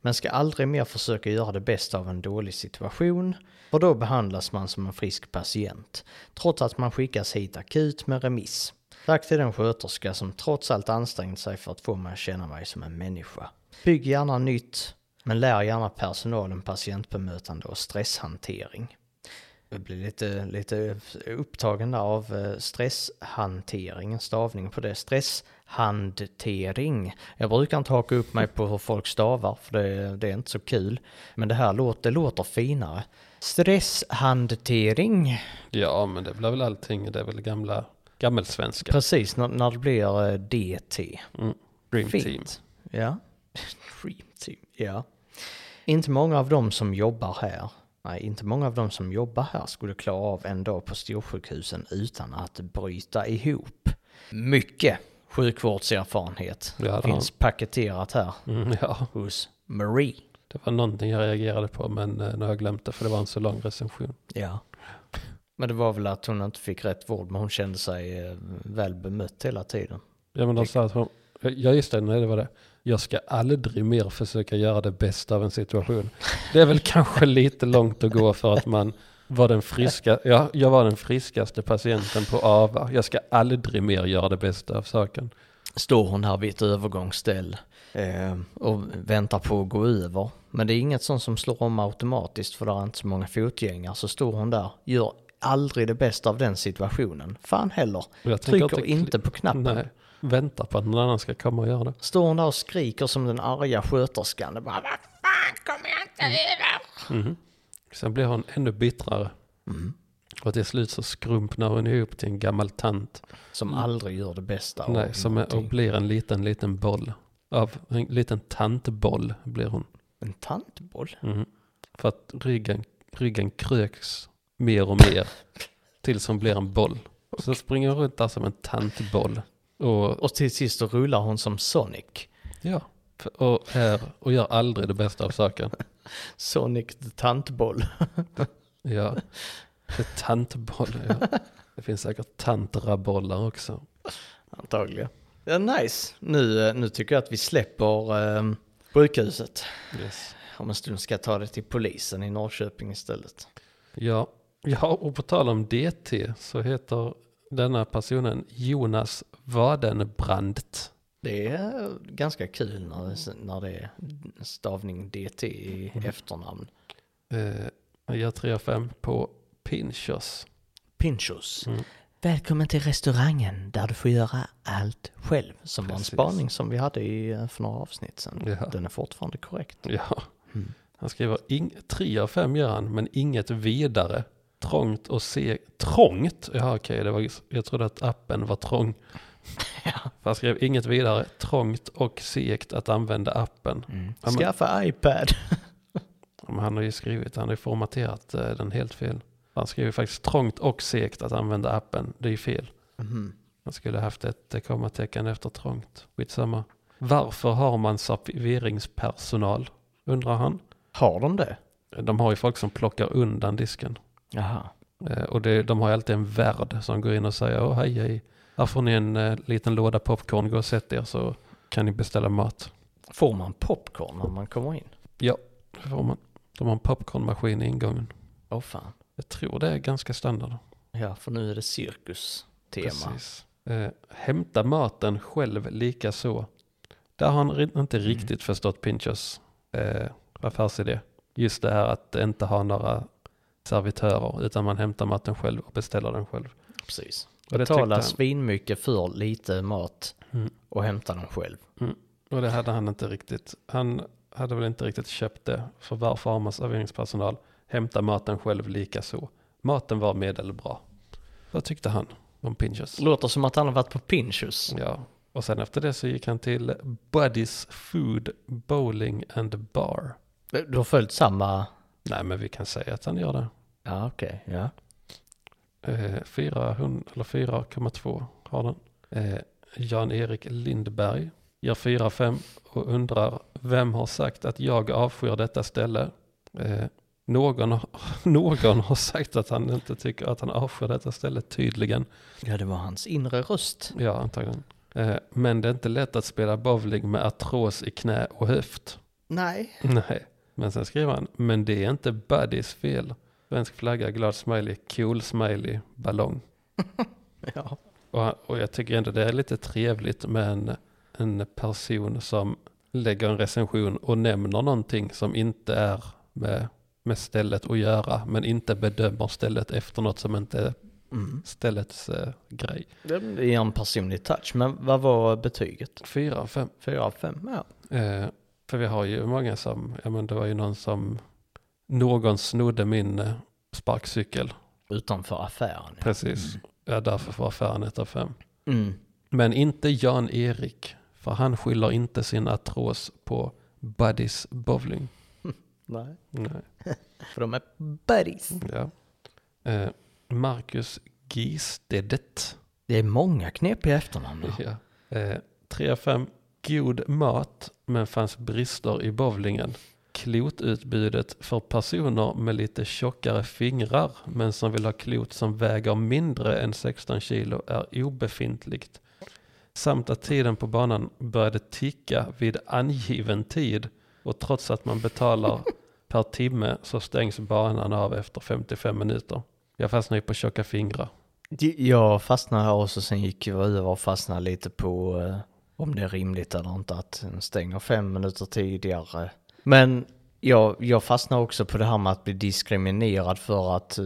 Men ska aldrig mer försöka göra det bästa av en dålig situation, för då behandlas man som en frisk patient, trots att man skickas hit akut med remiss. Tack till den sköterska som trots allt ansträngt sig för att få mig att känna mig som en människa. Bygg gärna nytt, men lär gärna personalen patientbemötande och stresshantering. Jag blir lite, lite upptagen där av eh, stresshanteringen, stavningen på det. Stresshantering. Jag brukar inte haka upp mig på hur folk stavar, för det, det är inte så kul. Men det här låter, det låter finare. Stresshantering.
Ja, men det blir väl allting. Det är väl gamla, gammelsvenska.
Precis, när, när det blir eh, DT.
Mm. Dream team.
Ja. Dream team, ja. Inte många av dem som jobbar här, nej, inte många av dem som jobbar här skulle klara av en dag på storsjukhusen utan att bryta ihop. Mycket sjukvårdserfarenhet
Ja, det har
finns paketerat här
Mm, ja,
hos Marie.
det var någonting jag reagerade på, men eh, nu har jag glömt det, för det var en så lång recension.
Ja. Men det var väl att hon inte fick rätt vård, men hon kände sig eh, väl bemött hela tiden.
Ja, men de sa att hon, ja just det, nej det var det. Jag ska aldrig mer försöka göra det bästa av en situation. Det är väl kanske lite långt att gå för att man var den friska, ja, jag var den friskaste patienten på AVA. Jag ska aldrig mer göra det bästa av saken.
står hon här vid ett övergångsställ eh, och väntar på att gå över. Men det är inget sånt som slår om automatiskt för det är inte så många fotgängare. Så står hon där, gör aldrig det bästa av den situationen. Fan heller.
Och jag tänker
Trycker
kli-
inte på knappen.
Nej, vänta på att någon annan ska komma och göra det.
Står hon där och skriker som den arga sköterskan. Det bara, "Va fan kommer jag
Mm.
inte över?
Sen blir hon ännu bittrare. Och till slut så skrumpnar hon ihop till en gammal tant.
Som aldrig gör det bästa av
Mm. Nej, som är, och
någonting.
blir en liten, liten boll. Av en liten tantboll blir hon.
En tantboll?
Mm. För att ryggen, ryggen kröks mer och mer tills hon blir en boll. Så springer hon runt där som en tantboll. Och,
Och till sist så rullar hon som Sonic.
ja, f- och, är, och gör aldrig det bästa av saken.
Sonic the tantboll.
Ja, det är tantboll. Ja. Det finns säkert tantrabollar också.
Antagligen. Ja, nice. Nu, eh, nu tycker jag att vi släpper eh, sjukhuset. Om en stund ska jag ta det till polisen i Norrköping istället.
Ja. ja, och på tal om DT så heter denna personen Jonas Wadenbrandt.
Det är eh, ganska kul när det, när det är stavning DT i
Mm.
efternamn.
Eh, jag 3 av 5 på Pinchos.
Pinchos.
Mm.
Välkommen till restaurangen där du får göra allt själv. Som var en
Precis.
spaning som vi hade i, eh, för några avsnitt sedan.
Ja.
Den är fortfarande korrekt.
Ja. Han skriver ing, tre av fem gör han, men inget vidare. Trångt och seg. Trångt? Ja, okej, det var, jag trodde att appen var trång. För han skrev inget vidare. Trångt och segt att använda appen. Ja, men,
Mm. Skaffa iPad.
ja, men han har ju skrivit, han har ju formaterat eh, den helt fel. Han skriver faktiskt trångt och segt att använda appen. Det är ju fel.
Mhm.
Man skulle haft ett eh, kommatecken efter trångt. Skitsamma. Varför har man serveringspersonal? Undrar han.
Har de det?
De har ju folk som plockar undan disken.
Jaha.
Eh, Och det, de har ju alltid en värd som går in och säger Åh, hej hej, här får ni en eh, liten låda popcorn, gå och sätt er så kan ni beställa mat.
Får man popcorn när man kommer in?
Det får man. De har en popcornmaskin i ingången.
Åh fan.
Jag tror det är ganska standard.
Ja, för nu är det cirkustema.
Precis. Eh, hämta maten själv lika så. Där har han ri- inte
Mm.
riktigt förstått Pinchos eh, affärsidé. Just det här att inte ha några servitörer utan man hämtar maten själv och beställer den själv.
Precis.
Och det, tyckte
Betala
han,
svinmycket för lite mat
Mm.
och hämta den själv.
och det hade han inte riktigt. Han hade väl inte riktigt köpt det. För varför har man serveringspersonal? Hämta maten själv lika så. Maten var medelbra. Vad tyckte han om Pinchos?
Låter som att han har varit på Pinchos.
Ja, och sen efter det så gick han till Buddy's Food Bowling and Bar. Mm.
Du har följt samma...
Nej, men vi kan säga att han gör det.
Ja, okej. Ja.
Eh, 400 eller 4,2 har den. Eh, Jan-Erik Lindberg gör 4,5 och undrar vem har sagt att jag avskyr detta ställe? Eh, någon, har- någon har sagt att han inte tycker att han avskyr detta ställe tydligen.
ja, det var hans inre röst.
Ja, antagligen. Eh, men det är inte lätt att spela bowling med artros i knä och höft.
Nej.
Nej, men sen skriver han, men det är inte Buddys fel. Svensk flagga, glad smiley, cool smiley, ballong.
Ja.
Och, han- och jag tycker ändå det är lite trevligt med en, en person som lägger en recension och nämner någonting som inte är med, med stället att göra, men inte bedömer stället efter något som inte är
Mm.
ställets eh, grej.
Det ger en personlig touch. Men vad var betyget?
Fyra av fem.
Fyra av fem? Ja.
Eh, för vi har ju många som, ja men det var ju någon som, någon snodde min eh, sparkcykel
Utanför affären. ja.
Precis. Ja, därför får affären ett av fem.
Mm.
Men inte Jan-Erik, för han skyller inte sin artros på Buddies bowling.
Nej.
Nej.
För de är buddies.
Ja. Eh, Marcus Gistedet.
Det är många knepiga efternamn. här.
Ja. Eh, 3 av 5. God mat, men fanns brister i bowlingen. Klotutbudet för personer med lite tjockare fingrar, men som vill ha klot som väger mindre än 16 kilo är obefintligt. Samt att tiden på banan började ticka vid angiven tid och trots att man betalar per timme så stängs banan av efter 55 minuter. Jag fastnar ju på tjocka fingrar.
Jag fastnade här och så sen gick jag över och fastnade lite på eh, om det är rimligt eller inte att den stänger fem minuter tidigare. Men jag, jag fastnade också på det här med att bli diskriminerad för att eh,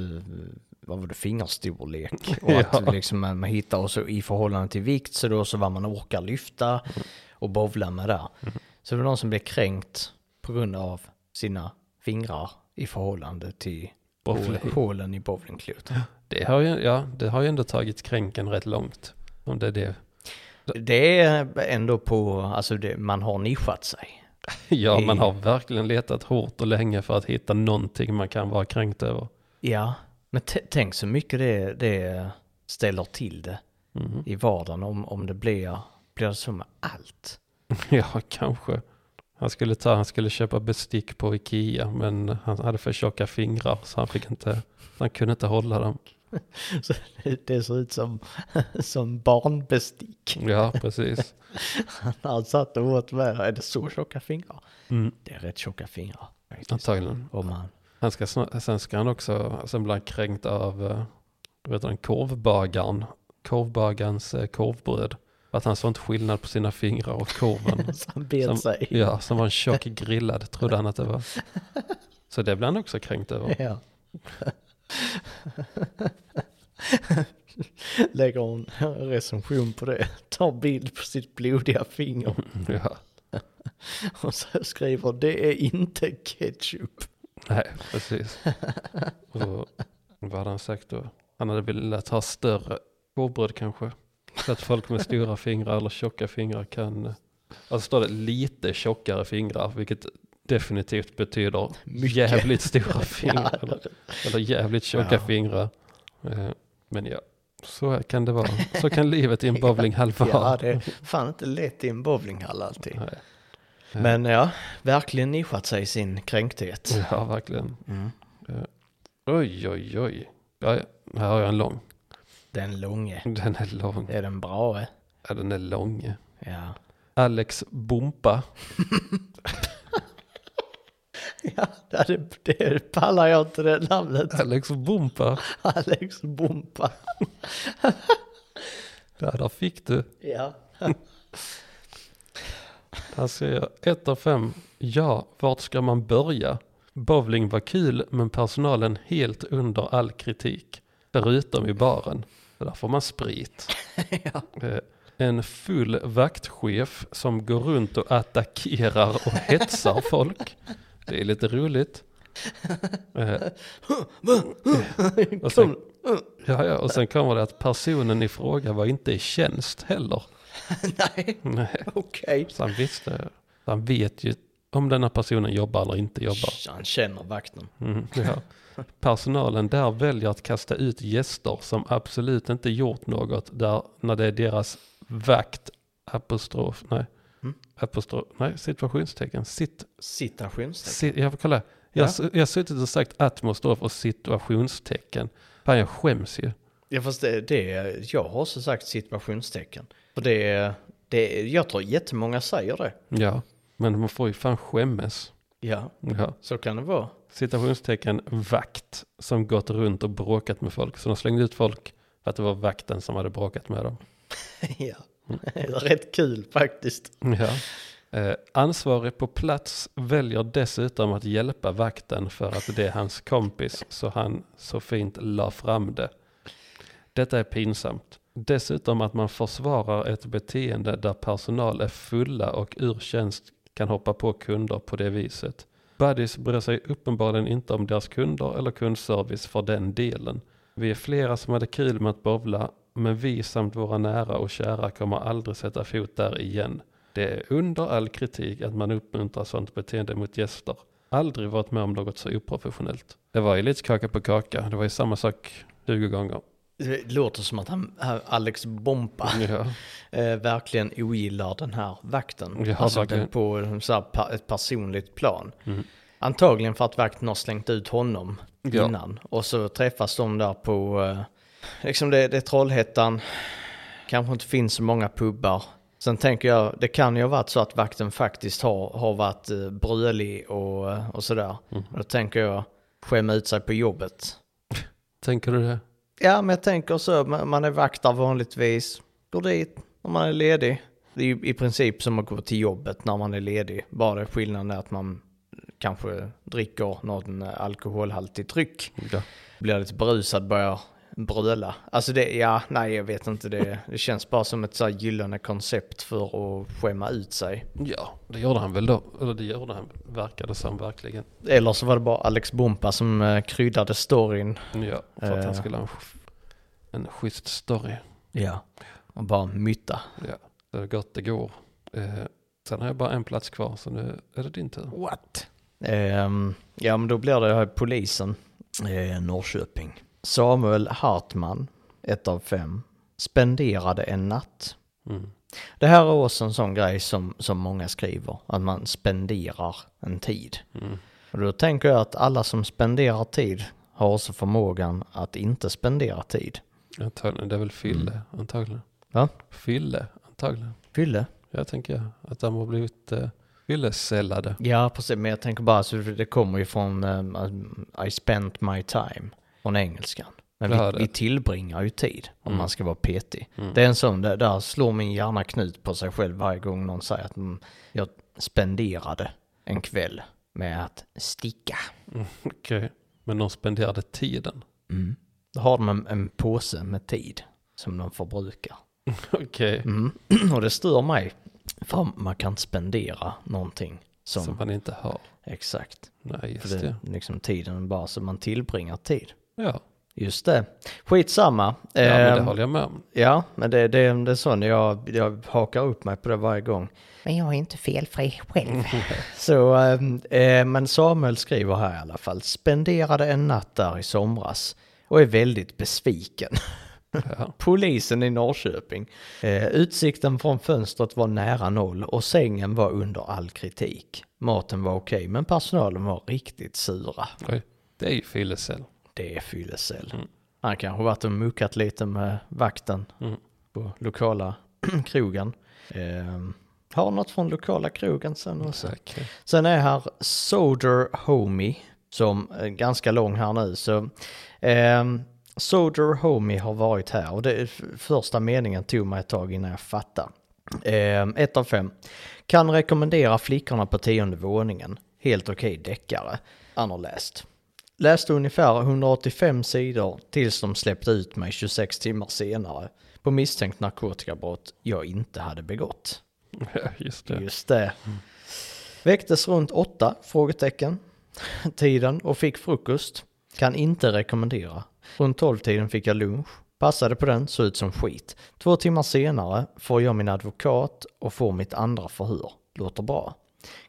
vad var det, fingerstorlek. Och
Ja.
att liksom man man hittar och så i förhållande till vikt så då så vad man orkar lyfta och bovla med där.
Mm.
Så det var någon som blev kränkt på grund av sina fingrar i förhållande till
Bowling.
hålen i bowlingklotet.
Det har ju, ja, det har ju ändå tagit kränken rätt långt. Om det är det.
Det är ändå på, alltså det, man har nischat sig.
Ja, man
Ja.
har verkligen letat hårt och länge för att hitta någonting man kan vara kränkt över.
Ja, men t- tänk så mycket det, det ställer till det
Mhm.
i vardagen om, om det blir, blir det så med allt.
Ja, kanske. Han skulle, ta, han skulle köpa bestick på Ikea, men han hade för tjocka fingrar så han, fick inte, han kunde inte hålla dem.
Så det, det ser ut som, som barnbestick.
Ja, precis.
Han satt och åt med det. Är det så tjocka fingrar?
Mm,
Det är rätt tjocka fingrar. faktiskt.
antagligen.
Om man,
Han ska, sna- sen ska han också, sen blir han kränkt av eh, vad heter han, korvbagaren, korvbagarens eh, korvbröd. Att han såg inte skillnad på sina fingrar och korven.
som bet
Som-
sig.
Ja, som var en tjock grillad trodde han att det var. Så det blev han också kränkt över.
Ja. Lägger en recension på det. Tar bild på sitt blodiga finger
Ja,
och så skriver det är inte ketchup.
nej, precis. Och vad hade han sagt då? Han hade velat ha större korvbröd kanske. Så att folk med stora fingrar eller tjocka fingrar kan... Alltså står det lite tjockare fingrar, vilket definitivt betyder
Mycket.
jävligt stora fingrar.
Ja,
Eller jävligt tjocka
Ja.
fingrar. Eh, Men ja, Så kan det vara. Så kan livet i en bowlinghall vara.
Ja, det är fan inte lätt i en bowlinghall alltid.
Nej.
Men ja, verkligen nischat sig i sin kränkthet.
Ja, verkligen. Eh,
Mm.
Oj, oj, oj. Ja, ja. här har jag en lång.
Den långe.
Den är lång.
Det är den brae.
Ja, den är lång.
Ja.
Alex Bompa.
Ja, det, det pallar jag inte det namnet.
Alex Bompa.
Alex Bompa.
Där, där fick du.
Ja.
Här ser jag 1 av 5. Ja, vart ska man börja? Bowling var kul, men personalen helt under all kritik. Förutom i baren. För där får man sprit.
ja.
Eh, En full vaktchef som går runt och attackerar och hetsar folk. Det är lite roligt. Eh, Och sen, ja, ja, och sen kommer det att personen i fråga var inte i tjänst heller.
Nej,
Nej,
okej.
så han visste, så han vet ju om denna personen jobbar eller inte jobbar.
Han känner vakten.
Mm, ja. Personalen där väljer att kasta ut gäster som absolut inte gjort något där när det är deras vakt, apostrof, nej,
Mm.
apostrof, nej, situationstecken, sitt,
Citationstecken.
si, jag får kolla.
Ja.
Jag, s- jag har suttit och sagt atmostrof och situationstecken. Fan, jag skäms ju.
Ja, fast det, det, jag har också sagt situationstecken. För det, det, jag tror jättemånga säger det.
Ja, men man får ju fan skämmas.
Ja,
Ja.
så kan det vara.
Citationstecken vakt som gått runt och bråkat med folk. Så de slängde ut folk för att det var vakten som hade bråkat med dem.
ja, det är rätt kul faktiskt.
Ja. Eh, ansvarig på plats väljer dessutom att hjälpa vakten för att det är hans kompis så han så fint la fram det. Detta är pinsamt. Dessutom att man försvarar ett beteende där personal är fulla och ur tjänst kan hoppa på kunder på det viset. Buddies bryr sig uppenbarligen inte om deras kunder eller kundservice för den delen. Vi är flera som hade kul med att bowla, men vi samt våra nära och kära kommer aldrig sätta fot där igen. Det är under all kritik att man uppmuntrar sånt beteende mot gäster. Aldrig varit med om något så oprofessionellt. Det var ju lite kaka på kaka. Det var ju samma sak 20 gånger.
Det låter som att han, han- Alex Bompa
Ja,
eh, verkligen ogillar den här vakten.
Ja,
alltså
verkligen.
den på så här, pa- ett personligt plan.
Mm.
Antagligen för att vakten har slängt ut honom
Ja.
innan. Och så träffas de där på, eh, liksom det, det är Trollhättan, kanske inte finns så många pubbar. Sen tänker jag, det kan ju ha varit så att vakten faktiskt har, har varit eh, brölig och, eh, och sådär.
Mhm.
Och då tänker jag, skämma ut sig på jobbet.
tänker du det?
Ja, men jag tänker så, man man är vakt där vanligtvis, går dit om man är ledig. Det är ju i princip som att gå till jobbet när man är ledig, bara det skillnaden är att man kanske dricker någon alkoholhaltig dryck.
Ja.
Blir lite berusad, börjar bröla. Alltså det, ja, nej jag vet inte, det, det känns bara som ett så här gyllene koncept för att skämma ut sig.
ja, det gjorde han väl då. Eller det gjorde han, verkade som verkligen.
Eller så var det bara Alex Bompa som eh, kryddade storyn.
Ja, för att
Eh.
han skulle ha en, sch- en schysst story.
Ja. Och bara mytta.
Ja, det är gott det går. Eh, sen har jag bara en plats kvar, så nu är det din tur.
What? Ehm, ja, men då blir det här polisen. Eh, Norrköping. Samuel Hartman, ett av fem, spenderade en natt.
Mm.
Det här är också en sån grej som, som många skriver, att man spenderar en tid.
Mm.
Och då tänker jag att alla som spenderar tid har också förmågan att inte spendera tid.
Antagligen, det är väl Fylle, antagligen.
Mm. Va?
Fylle, antagligen.
Fylle?
Jag tänker att de har blivit eh, fyllesällade.
Ja, precis, men jag tänker bara, så det kommer ju från um, I spent my time, från engelskan. Men
Ja,
vi,
det-
vi tillbringar ju tid, om
Mm.
man ska vara petig.
Mm.
Det är en sån, där, där slår min hjärna knut på sig själv varje gång någon säger att mm, jag spenderade en kväll med att sticka.
Okej, men de spenderade tiden.
Mm. Då har de en, en påse med tid som de förbrukar.
Okej,
Mm. Och det stör mig, för man kan spendera någonting som,
som man inte har.
exakt,
Nej,
för
just
det,
det.
liksom tiden bara så man tillbringar tid.
Ja,
Just det. Skitsamma.
ja men det
Ehm,
håller jag med om.
ja, men det, det, det är sån jag, jag hakar upp mig på det varje gång.
Men jag är inte felfri själv.
Så, ehm, eh, men Samuel skriver här i alla fall. Spenderade en natt där i somras och är väldigt besviken.
Ja.
Polisen i Norrköping. Eh, utsikten från fönstret var nära noll och sängen var under all kritik. Maten var okej men personalen var riktigt sura.
Oj. Det är ju fyllecell.
Det är fyllecell.
Mm.
Han kanske varit och muckat lite med vakten
Mm.
på lokala krogen. Ehm, har något från lokala krogen sen också.
Okej.
Sen är här Soder Homie, som är ganska lång här nu. Så, ehm, Soder Homie har varit här och det, första meningen tog mig ett tag innan jag fattade. Ehm, Ett av fem. Kan rekommendera flickorna på tionde våningen. Helt okej deckare. Han har läst. Läste ungefär 185 sidor tills de släppte ut mig 26 timmar senare på misstänkt narkotikabrott jag inte hade begått.
Ja, just det.
Just det. Väcktes runt åtta? Frågetecken. Tiden och fick frukost. Kan inte rekommendera. Runt tolvtiden fick jag lunch. Passade på den, såg ut som skit. Två timmar senare får jag min advokat och får mitt andra förhör. Låter bra.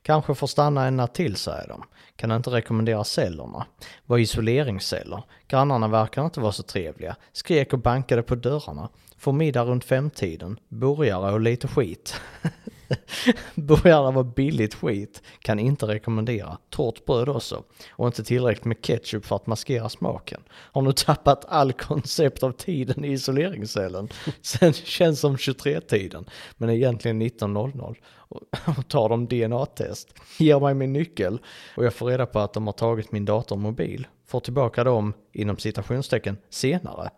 Kanske får stanna en natt till, säger de. Kan inte rekommendera cellerna. Var isoleringsceller. Grannarna verkar inte vara så trevliga. Skrek och bankade på dörrarna. Får middag runt femtiden. Burgare och lite skit. Burgarna var billigt skit, kan inte rekommendera. Torrt bröd också. Och inte tillräckligt med ketchup för att maskera smaken. Har nu tappat all koncept av tiden i isoleringscellen. Sen känns som 23-tiden, men egentligen 19.00. Och och tar de DNA-test. Ger mig min nyckel och jag får reda på att de har tagit min dator och mobil. Får tillbaka dem, inom citationstecken, senare.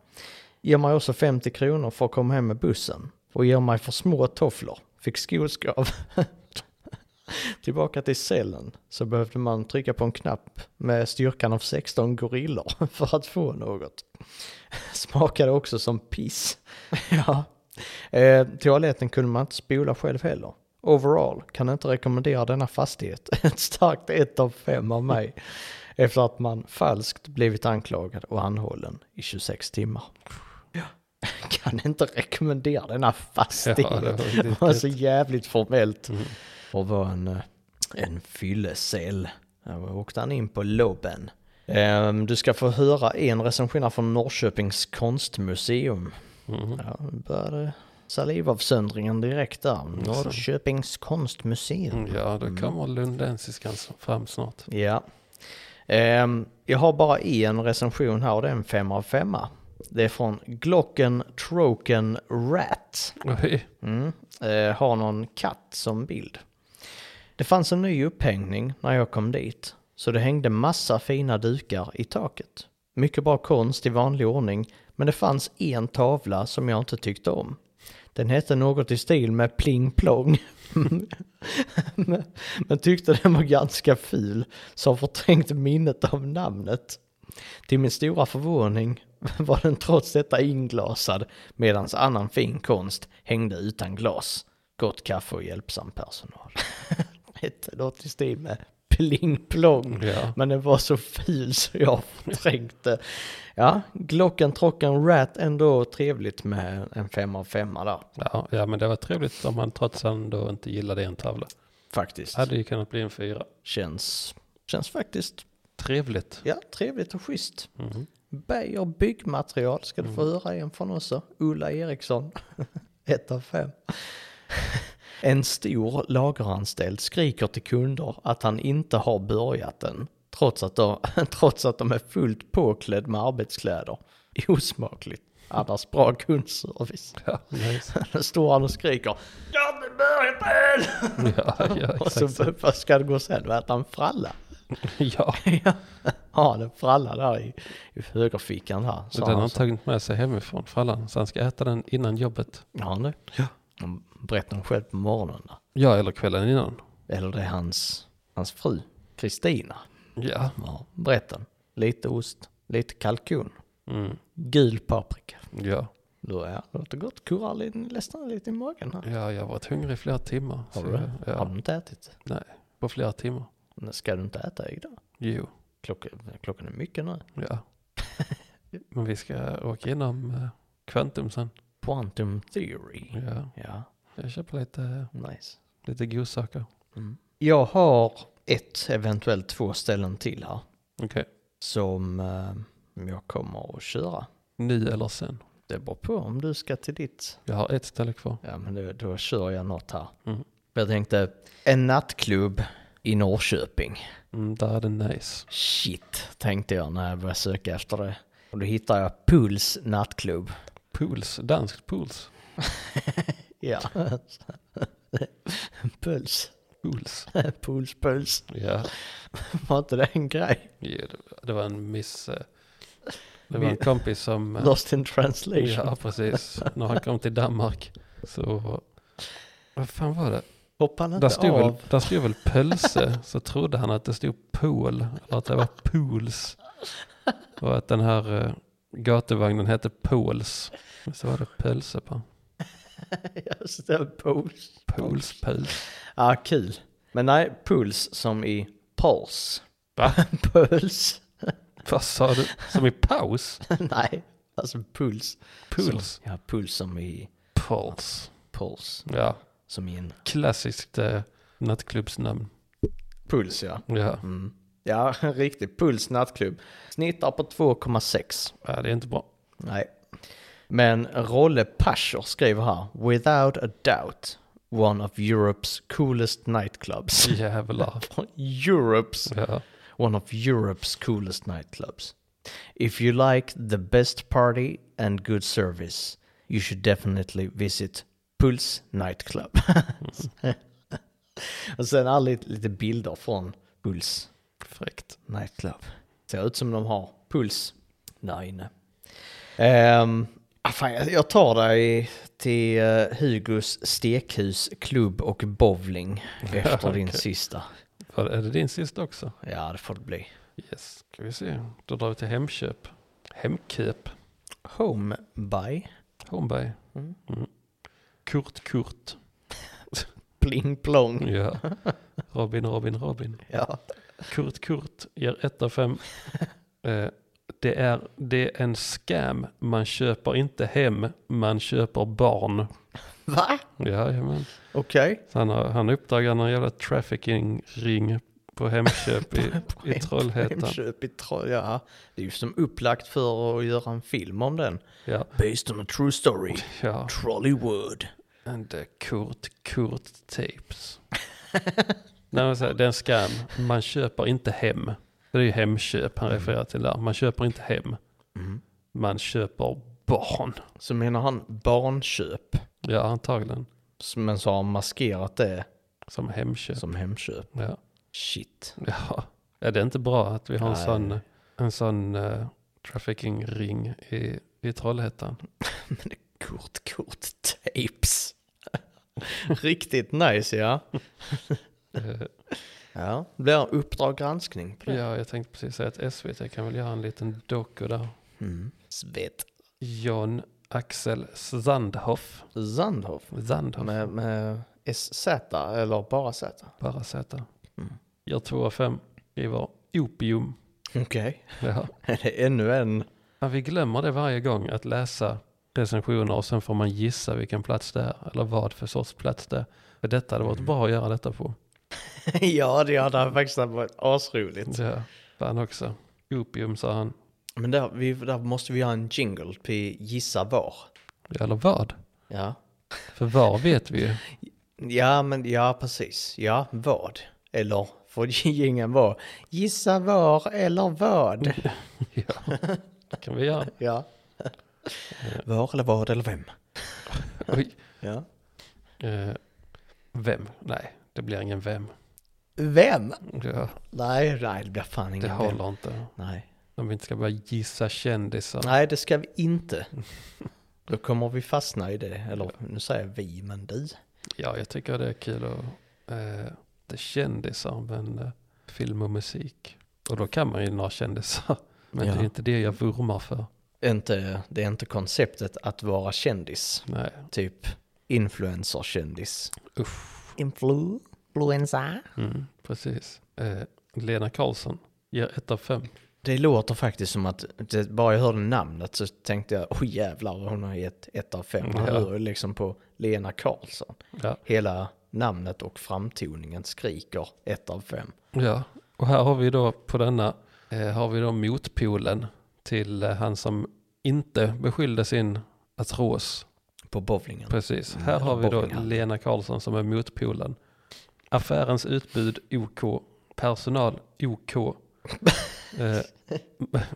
Ger mig också 50 kronor för att komma hem med bussen. Och ger mig för små tofflor. Fick skoskav. Tillbaka till cellen så behövde man trycka på en knapp med styrkan av 16 gorillor för att få något. Smakade också som piss. ja. Eh, toaletten kunde man inte spola själv heller. Overall kan inte rekommendera denna fastighet. Ett starkt 1 av 5 av mig. Efter att man falskt blivit anklagad och anhållen i 26 timmar. Kan inte rekommendera denna fastighet.
Ja, det var
det Alltså,
riktigt
var
gött.
så jävligt formellt. Mm. Och var en, eh, en fyllecell. Där åkte han in på lobben. Ehm, du ska få höra en recension från Norrköpings konstmuseum.
Mhm.
Ja, nu började salivavsöndringen direkt där. Norrköpings konstmuseum.
Mm, Ja, då kommer lundensiskan fram snart.
Ja. Ehm, jag har bara en recension här och det är en fem av femma. Det är från Glocken Troken Rat.
Oj.
Mm. Eh, har någon katt som bild. Det fanns en ny upphängning när jag kom dit, så det hängde massa fina dukar i taket. Mycket bra konst i vanlig ordning, men det fanns en tavla som jag inte tyckte om. Den hette något i stil med Pling Plong. men, men tyckte den var ganska ful, så har förträngt minnet av namnet. Till min stora förvåning var den trots detta inglasad medan annan fin konst hängde utan glas. Gott kaffe och hjälpsam personal. Ett något i stil med pling plong.
Ja.
Men den var så ful så jag förträngde. Ja, Glocken Trocken Rat ändå trevligt med en femma av femma där.
Ja, ja, men det var trevligt om man trots ändå inte gillade en tavla.
Faktiskt.
Hade ju kunnat bli en fyra.
Känns, känns faktiskt
Trevligt.
ja, trevligt och schysst.
Mhm.
Beijer byggmaterial ska du få höra en från också. Ulla Eriksson, ett av fem. En stor lageranställd skriker till kunder att han inte har börjat än, trots att de, trots att de är fullt påklädd med arbetskläder. Osmakligt, annars bra kundservice.
Ja, nice.
Då står han och skriker Jag har inte börjat än!
ja, ja,
Och så
exakt. så.
vad ska det gå sen? Vad äter han? Fralla?
Ja,
Ja, han en fralla där i, i högerfickan här.
så
sa
den har
han
han tagit med sig hemifrån frallan. Så han ska äta den innan jobbet.
Ja, han det? Ja. Han berättar om själv på morgonen. där.
Ja, eller kvällen innan.
Eller det är hans, hans fru, Kristina.
Ja.
Ja, berättar. Lite ost, lite kalkon,
Mm.
gul paprika.
Ja.
Då är det låter gott. Kurrar lite- nästan lite i magen här.
ja, jag har varit hungrig i flera timmar.
Har
så
du det?
jag-
Har du
Ja,
inte ätit?
nej, på flera timmar.
Men Ska du inte äta idag?
Jo,
Klockan, klockan är mycket nu.
ja. Men vi ska åka igenom eh, Quantum sen.
Quantum theory.
Ja,
Ja,
jag köper lite,
nice. Mm.
lite godsaker.
Jag har ett, eventuellt två ställen till här.
Okej,
Som eh, jag kommer att köra.
nu eller sen.
Det beror på om du ska till ditt.
Jag har ett ställe kvar.
Ja, men då, då kör jag något här.
Mm.
Jag tänkte, en nattklubb i Norrköping.
Mm, där är det nice.
Shit, tänkte jag när jag började söka efter det. Och då hittade jag Puls nattklubb.
Pools, danskt pools.
Ja. puls.
Pools.
Puls, puls.
Ja,
Var inte det en grej?
Ja, det var- det var en miss. eh, Det var en
Vi-
kompis som... eh,
Lost in translation.
Ja, precis. När han kom till Danmark så... Vad fan var det?
Hoppade inte
Där stod,
av.
väl, där stod väl pölse, så trodde han att det stod pool, eller att det var pools. Och att den här eh, gatuvagnen hette pools. Men Så var det pölse på.
Just det, puls.
Pools, pöls.
Ja, kul. Men nej, puls som i puls.
Va?
puls.
Vad sa du? Som i paus?
nej, alltså puls.
Pools.
Ja, puls som i
Puls.
puls.
Ja,
Som i en
klassiskt eh, nattklubbsnamn.
puls, ja.
Ja.
Mm. Ja, en riktig puls nattklubb. Snittar på 2,6.
ja, det är inte bra.
Nej. Men Rolle Pascher skriver här, without a doubt, one of Europe's coolest nightclubs.
Jävlar.
Europe's
Ja.
one of Europe's coolest nightclubs. If you like the best party and good service, you should definitely visit Puls nightclub. Och sen är lite, lite bilder från Puls
Fräckt.
nightclub. Ser ut som de har Puls där inne. Ehm, ah, fan, jag- jag tar dig till eh, Hugos stekhus, klubb och bowling efter din
Okej.
sista.
Var- Är det din sista också?
Ja, det får det bli.
Yes, ska vi se. Då drar vi till Hemköp. Hemköp.
Home by
Holmberg.
Mm.
Mm. Kurt Kurt.
Pling Plong.
Ja. Robin Robin Robin.
Ja.
Kurt Kurt ger 1 av 5. Eh, det, är, det är en scam. Man köper inte hem, man köper barn.
Va?
Jajamän.
Okej.
Så han, har, han uppdagar någon jävla trafficking-ring på Hemköp i, i Trollhättan.
Hemköp i Troll, ja. Det är ju som upplagt för att göra en film om den.
Ja,
Based on a true story.
ja.
Trollywood.
And the Kurt Kurt tapes. Nej, men så här, det är en skam. Man köper inte hem. Det är ju hemköp han refererar till där. Man köper inte hem.
Mm.
Man köper barn.
Så menar han barnköp.
Ja, antagligen.
Men så har han maskerat det
Som hemköp.
som hemköp.
Ja.
Shit.
Ja. ja, det är inte bra att vi har en
Nej.
sån, en sån eh, trafficking-ring i, i Trollhättan.
Kort, kort tapes. Riktigt nice ja.
Eh,
Ja. Det blir uppdrag granskning på det.
ja, jag tänkte precis säga att SVT kan väl göra en liten doku där.
Mm. Svett.
John Axel Sandhoff.
Zandhoff.
Sandhoff.
Med, med SZ eller bara Z?
Bara sätta.
Mm.
Gör två av fem. Skriver opium.
Okej.
Ja.
Det är ännu en.
Ja, vi glömmer det varje gång att läsa recensioner och sen får man gissa vilken plats det är. Eller vad för sorts plats det är. För detta hade
Mm.
varit bra att göra detta på.
ja, det hade faktiskt varit asroligt.
Ja, fan också. Opium sa han.
Men där, vi, där måste vi ha en jingle till gissa var.
Ja, Eller vad?
Ja.
För var vet vi ju.
Ja, men ja, precis. Ja, vad? Eller får jingeln vara gissa var eller vad?
Ja. Det kan vi göra.
Ja. Var eller vad eller vem?
Oj.
Ja.
Eh, vem? Nej, det blir ingen vem.
Vem?
Ja,
Nej, nej, det blir fan
det
ingen vem.
håller inte.
Nej.
Om vi inte ska börja gissa kändisar.
nej, det ska vi inte. Då kommer vi fastna i det. Eller nu säger jag vi, men du.
Ja, jag tycker det är kul att eh, det kändisar, men eh, film och musik. Och då kan man ju några kändisar. Men det är
Ja.
inte det jag vurmar för.
Inte, det är inte konceptet att vara kändis.
Nej,
Typ influencer-kändis.
usch.
Influenza.
Mm, precis. Eh, Lena Karlsson ger ett av fem.
Det låter faktiskt som att, det, bara jag hörde namnet så tänkte jag, oh jävlar vad hon har gett ett av fem. Man
Ja.
hör ju liksom på Lena Karlsson.
Ja.
Hela namnet och framtoningen skriker ett av fem.
ja, och här har vi då på denna eh, har vi då motpolen till eh, han som inte beskyllde sin Atros.
På bowlingen.
Precis. Här har vi då
Bowlinghall.
Lena Karlsson som är motpolen. Affärens utbud OK. Personal OK. eh, m-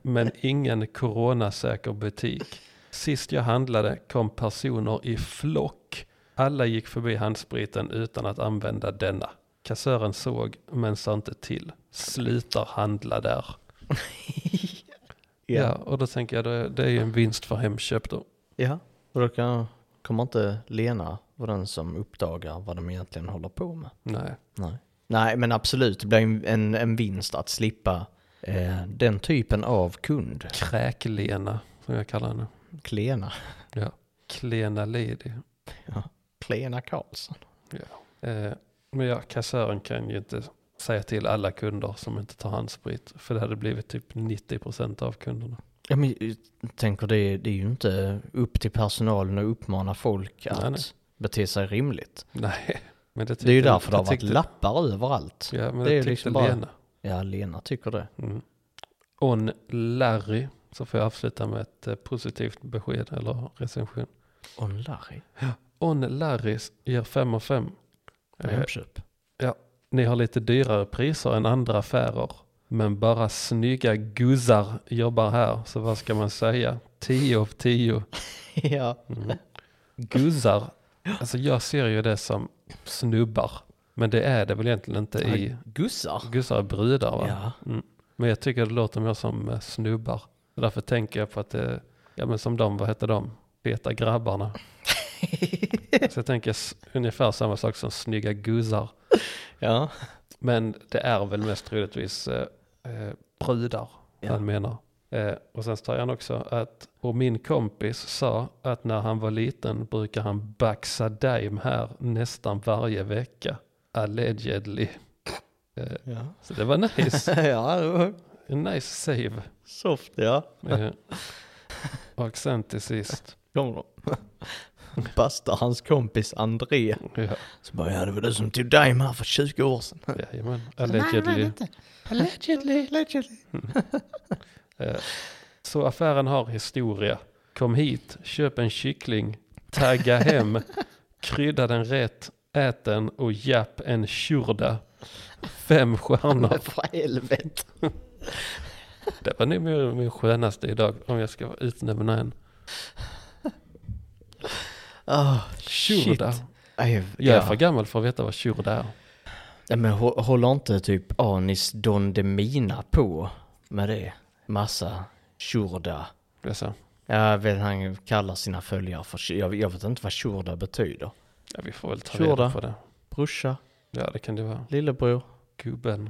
men ingen coronasäker butik. Sist jag handlade kom personer i flock. Alla gick förbi handspriten utan att använda denna. Kassören såg men sa inte till. Slutar handla där.
Ja.
Ja, och då tänker jag det, det är ju en vinst för Hemköp då.
Ja, och då kan, kommer inte Lena vara den som uppdagar vad de egentligen håller på med.
Nej.
Nej. Nej, men absolut. Det blir en, en, en vinst att slippa eh, den typen av kund.
Kräk-Lena som jag kallar henne.
Klena.
Klena lady.
Klena Karlsson.
Eh, men ja, kassören kan ju inte säga till alla kunder som inte tar handsprit. För det hade blivit typ 90% av kunderna.
Ja, men jag tänker det, det är ju inte upp till personalen att uppmana folk att
Nej, nej.
bete sig rimligt.
Nej, men det,
Det är ju därför det har varit
tyckte-
lappar överallt.
Ja, men
Det
det,
är ju
tyckte
liksom bara-
Lena.
Ja, Lena tycker det.
Mm. On Larry, så får jag avsluta med ett eh, positivt besked eller recension.
Och Larry
On Larry ger 5 av 5.
på Hemköp.
Ni har lite dyrare priser än andra affärer. Men bara snygga guzzar jobbar här, så vad ska man säga? 10 av 10.
ja.
Mm. Guzzar, alltså jag ser ju det som snubbar. Men det är det väl egentligen inte i...
Gussar.
Guzzar är brudar va?
Ja.
Men jag tycker det låter mer som eh, snubbar. Så därför tänker jag på att det, ja men som de, vad heter de? Feta grabbarna. så jag tänker s- ungefär samma sak som snygga guzzar.
Ja.
Men det är väl mest troligtvis eh, eh, brudar
Ja.
han menar. Eh, och sen tar han också att, och min kompis sa att när han var liten brukar han baxa dime här nästan varje vecka. Allegedly. Eh,
Ja.
så det var nice.
ja, det var
En nice save.
soft ja.
Eh, och sen till sist.
Kommer de. Bastar hans kompis André.
Ja,
Så bara, ja det var du som tog Dime här för 20 år sedan.
jajamän,
Nej, nej,
allegedly.
inte. Allegedly. Allegedly.
Eh, Så affären har historia. Kom hit, köp en kyckling, tagga hem, krydda den rätt, ät den och japp en tjurda. Fem stjärnor.
Men för helvete.
Det var nog min, min skönaste idag om jag ska utnämna en.
Oh, shit.
Tjurda.
Jag,
Jag är
ja.
för gammal för att veta vad tjurda är.
Nej, men hå- håller inte typ Anis Don Demina på med det? Massa tjurda.
Det är så.
Jag vet han kallar sina följare för tj- jag, jag vet inte vad tjurda betyder.
Ja, vi får väl ta
Tjurda.
reda på det.
Brorsa,
Ja, det kan det vara.
lillebror,
Gubben.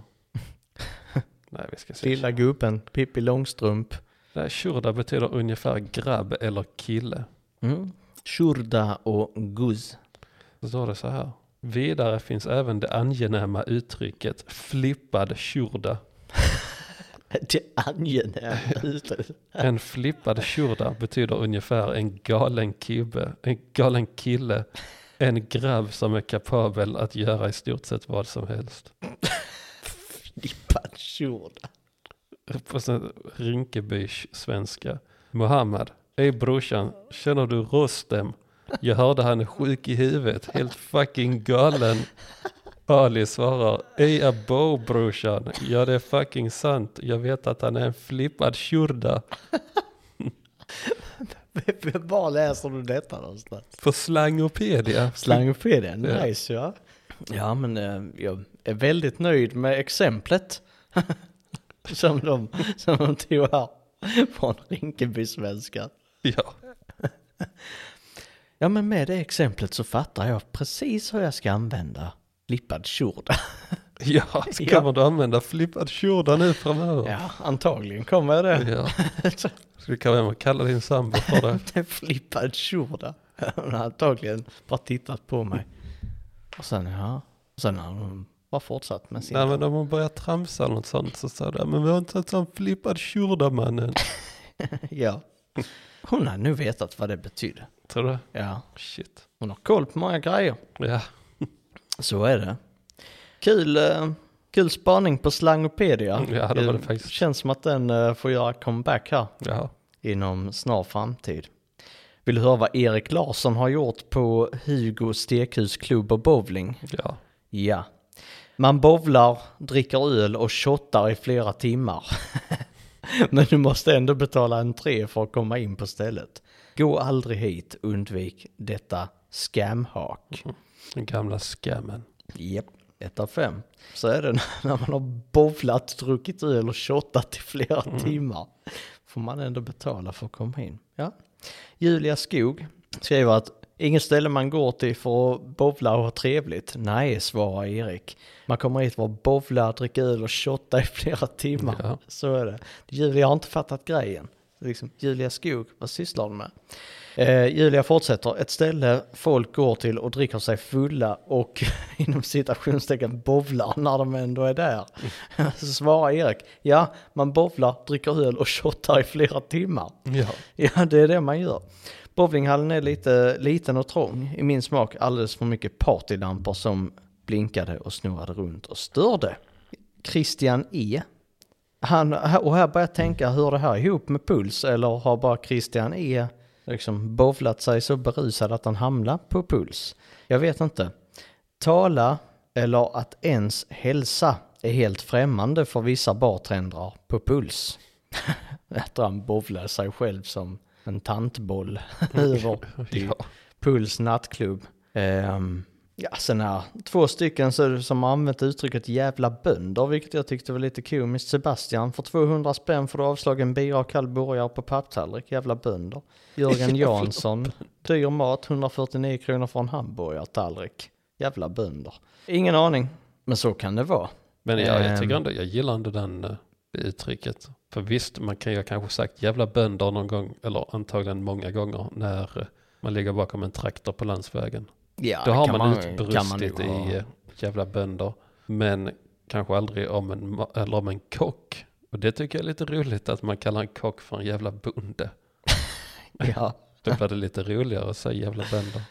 Nej, vi ska se.
lilla gubben, Pippi Långstrump.
Nej, tjurda betyder ungefär grabb eller kille.
Mm. Tjurda och guzz.
Så står det så här. Vidare finns även det angenäma uttrycket flippad tjurda.
Det angenäma uttrycket.
En flippad tjurda betyder ungefär en galen kibbe, en galen kille, en grabb som är kapabel att göra i stort sett vad som helst.
Flippad tjurda.
På sån Rinkeby-svenska. Mohammed, ey brorsan, känner du Rostem? Jag hörde han är sjuk i huvudet, helt fucking galen. Ali svarar, ey abo brorsan, ja det är fucking sant, jag vet att han är en flippad tjurda.
Var läser du detta någonstans?
På slangopedia.
Slangopedia,
Ja.
nice ja. Ja men eh, jag är väldigt nöjd med exemplet som, de, som de tog här från Rinkeby-svenska.
Ja,
Ja men med det exemplet så fattar jag precis hur jag ska använda flippad tjorda.
ja så
Ja.
kommer du använda flippad tjurda nu framöver.
Ja, antagligen kommer jag det.
Ja. Så du kan även kalla din sambo för det.
En flippad tjorda. Hon har antagligen bara tittat på mig. Och sen ja, och sen har hon bara fortsatt med sin...
Nej men om hon börjar tramsa eller något sånt så sa du, men vi har inte en sån flippad tjurda mannen.
Ja. Hon har nu vetat vad det betydde.
Tror du?
Ja.
Shit.
Hon har koll på många grejer.
Ja,
Så är det. Kul, eh, kul spaning på Slangopedia.
Mm, Ja, det var det faktiskt.
Känns som att den eh, får göra comeback här
ja.
inom snar framtid. Vill du höra vad Erik Larsson har gjort på Hugo Stekhus klubb och bowling?
Ja.
Ja. Man bowlar, dricker öl och shottar i flera timmar. Men du måste ändå betala entré för att komma in på stället. Gå aldrig hit, undvik detta scamhak.
Den gamla skammen.
Japp, ett av fem. Så är det när man har bowlat, druckit öl och shottat i flera timmar. Får man ändå betala för att komma in. Ja. Julia Skog skriver att inget ställe man går till för att bowla och ha trevligt. Nej, svarar Erik. Man kommer hit för att bowla, dricka öl och shotta i flera timmar.
Ja.
Så är det. Julia har inte fattat grejen. Liksom, Julia Skog, vad sysslar du med? Eh, Julia fortsätter, ett ställe folk går till och dricker sig fulla och inom citationstecken bovlar när de ändå är där. Så svarar Erik, ja man bovlar, dricker öl och shottar i flera timmar.
Ja.
Ja, det är det man gör. Bowlinghallen är lite liten och trång. I min smak alldeles för mycket partylampor som blinkade och snurrade runt och störde. Christian E. Han, och här börjar jag tänka, hör det här ihop med puls eller har bara Christian E liksom bowlat sig så berusad att han hamnar på puls? Jag vet inte. Tala eller att ens hälsa är helt främmande för vissa bartendrar på puls. Att han bowlar sig själv som en tantboll över till
Ja.
Puls nattklubb. Ehm, ja, sen här, två stycken så, som har använt uttrycket jävla bönder, vilket jag tyckte var lite komiskt. Sebastian, för 200 spänn får du avslagen bira och kall burgare på papptallrik, jävla bönder. Jörgen Jansson, dyr mat, 149 kronor för en hamburgartallrik, jävla bönder. Ingen aning, men så kan det vara.
Men jag, jag tycker
Ehm.
ändå, jag gillar ändå den eh, uttrycket. För visst, man kan ju ha kanske sagt jävla bönder någon gång, eller antagligen många gånger, när eh, man ligger bakom en traktor på landsvägen.
Ja,
Då har
kan
man,
kan man
utbrustit
nog ha.
i eh, jävla bönder, men kanske aldrig om en, ma- eller om en kock. Och det tycker jag är lite roligt att man kallar en kock för en jävla bonde.
Ja.
Då blir det lite roligare att säga jävla bönder.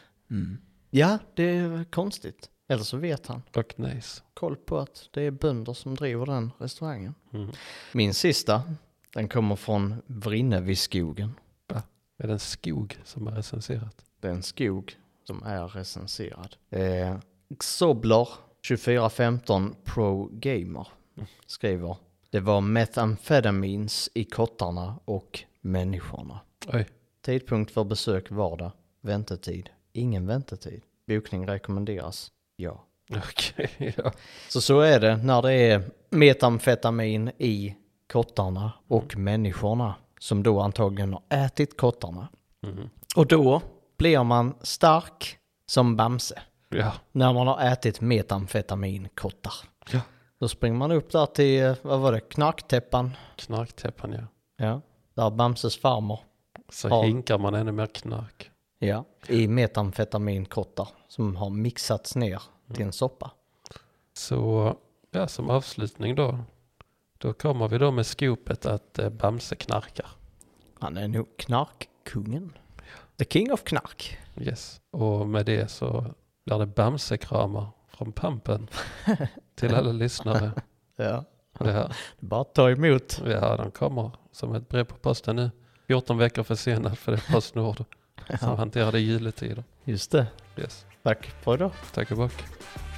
ja, det är konstigt. Eller så vet han.
Och nice.
koll på att det är bönder som driver den restaurangen.
Mm.
Min sista, den kommer från Vrinneviskogen.
Är det en skog som har recenserat?
Det är en skog som är recenserad. Eh, Xobler 2415 Pro Gamer skriver Det var metamfetamins i kottarna och människorna.
Oj,
Tidpunkt för besök vardag. Väntetid. Ingen väntetid. Bokning rekommenderas. Ja.
okej. ja.
Så så är det när det är metamfetamin i kottarna och människorna som då antagligen har ätit kottarna.
Mhm.
Och då blir man stark som Bamse
ja.
när man har ätit metamfetaminkottar.
Ja.
Då springer man upp där till, eh, vad var det, knarktäppan?
Knarktäppan ja.
Ja. Där Bamses farmor.
Så
Ja.
hinkar man ännu mer knark.
Ja. I metamfetaminkottar som har mixats ner till en soppa.
Så ja, som avslutning då. Då kommer vi då med skopet att eh, Bamse knarkar.
Han är nog knarkkungen. The king of knark.
Yes. Och med det så blir det Bamsekramar från pampen till alla lyssnare.
Ja.
Det här.
Bara ta emot.
Ja, de kommer som ett brev på posten nu. 14 veckor försenad för det är Postnord som hanterar det i juletider.
Just det.
Yes.
Tack för idag.
Tack och bock.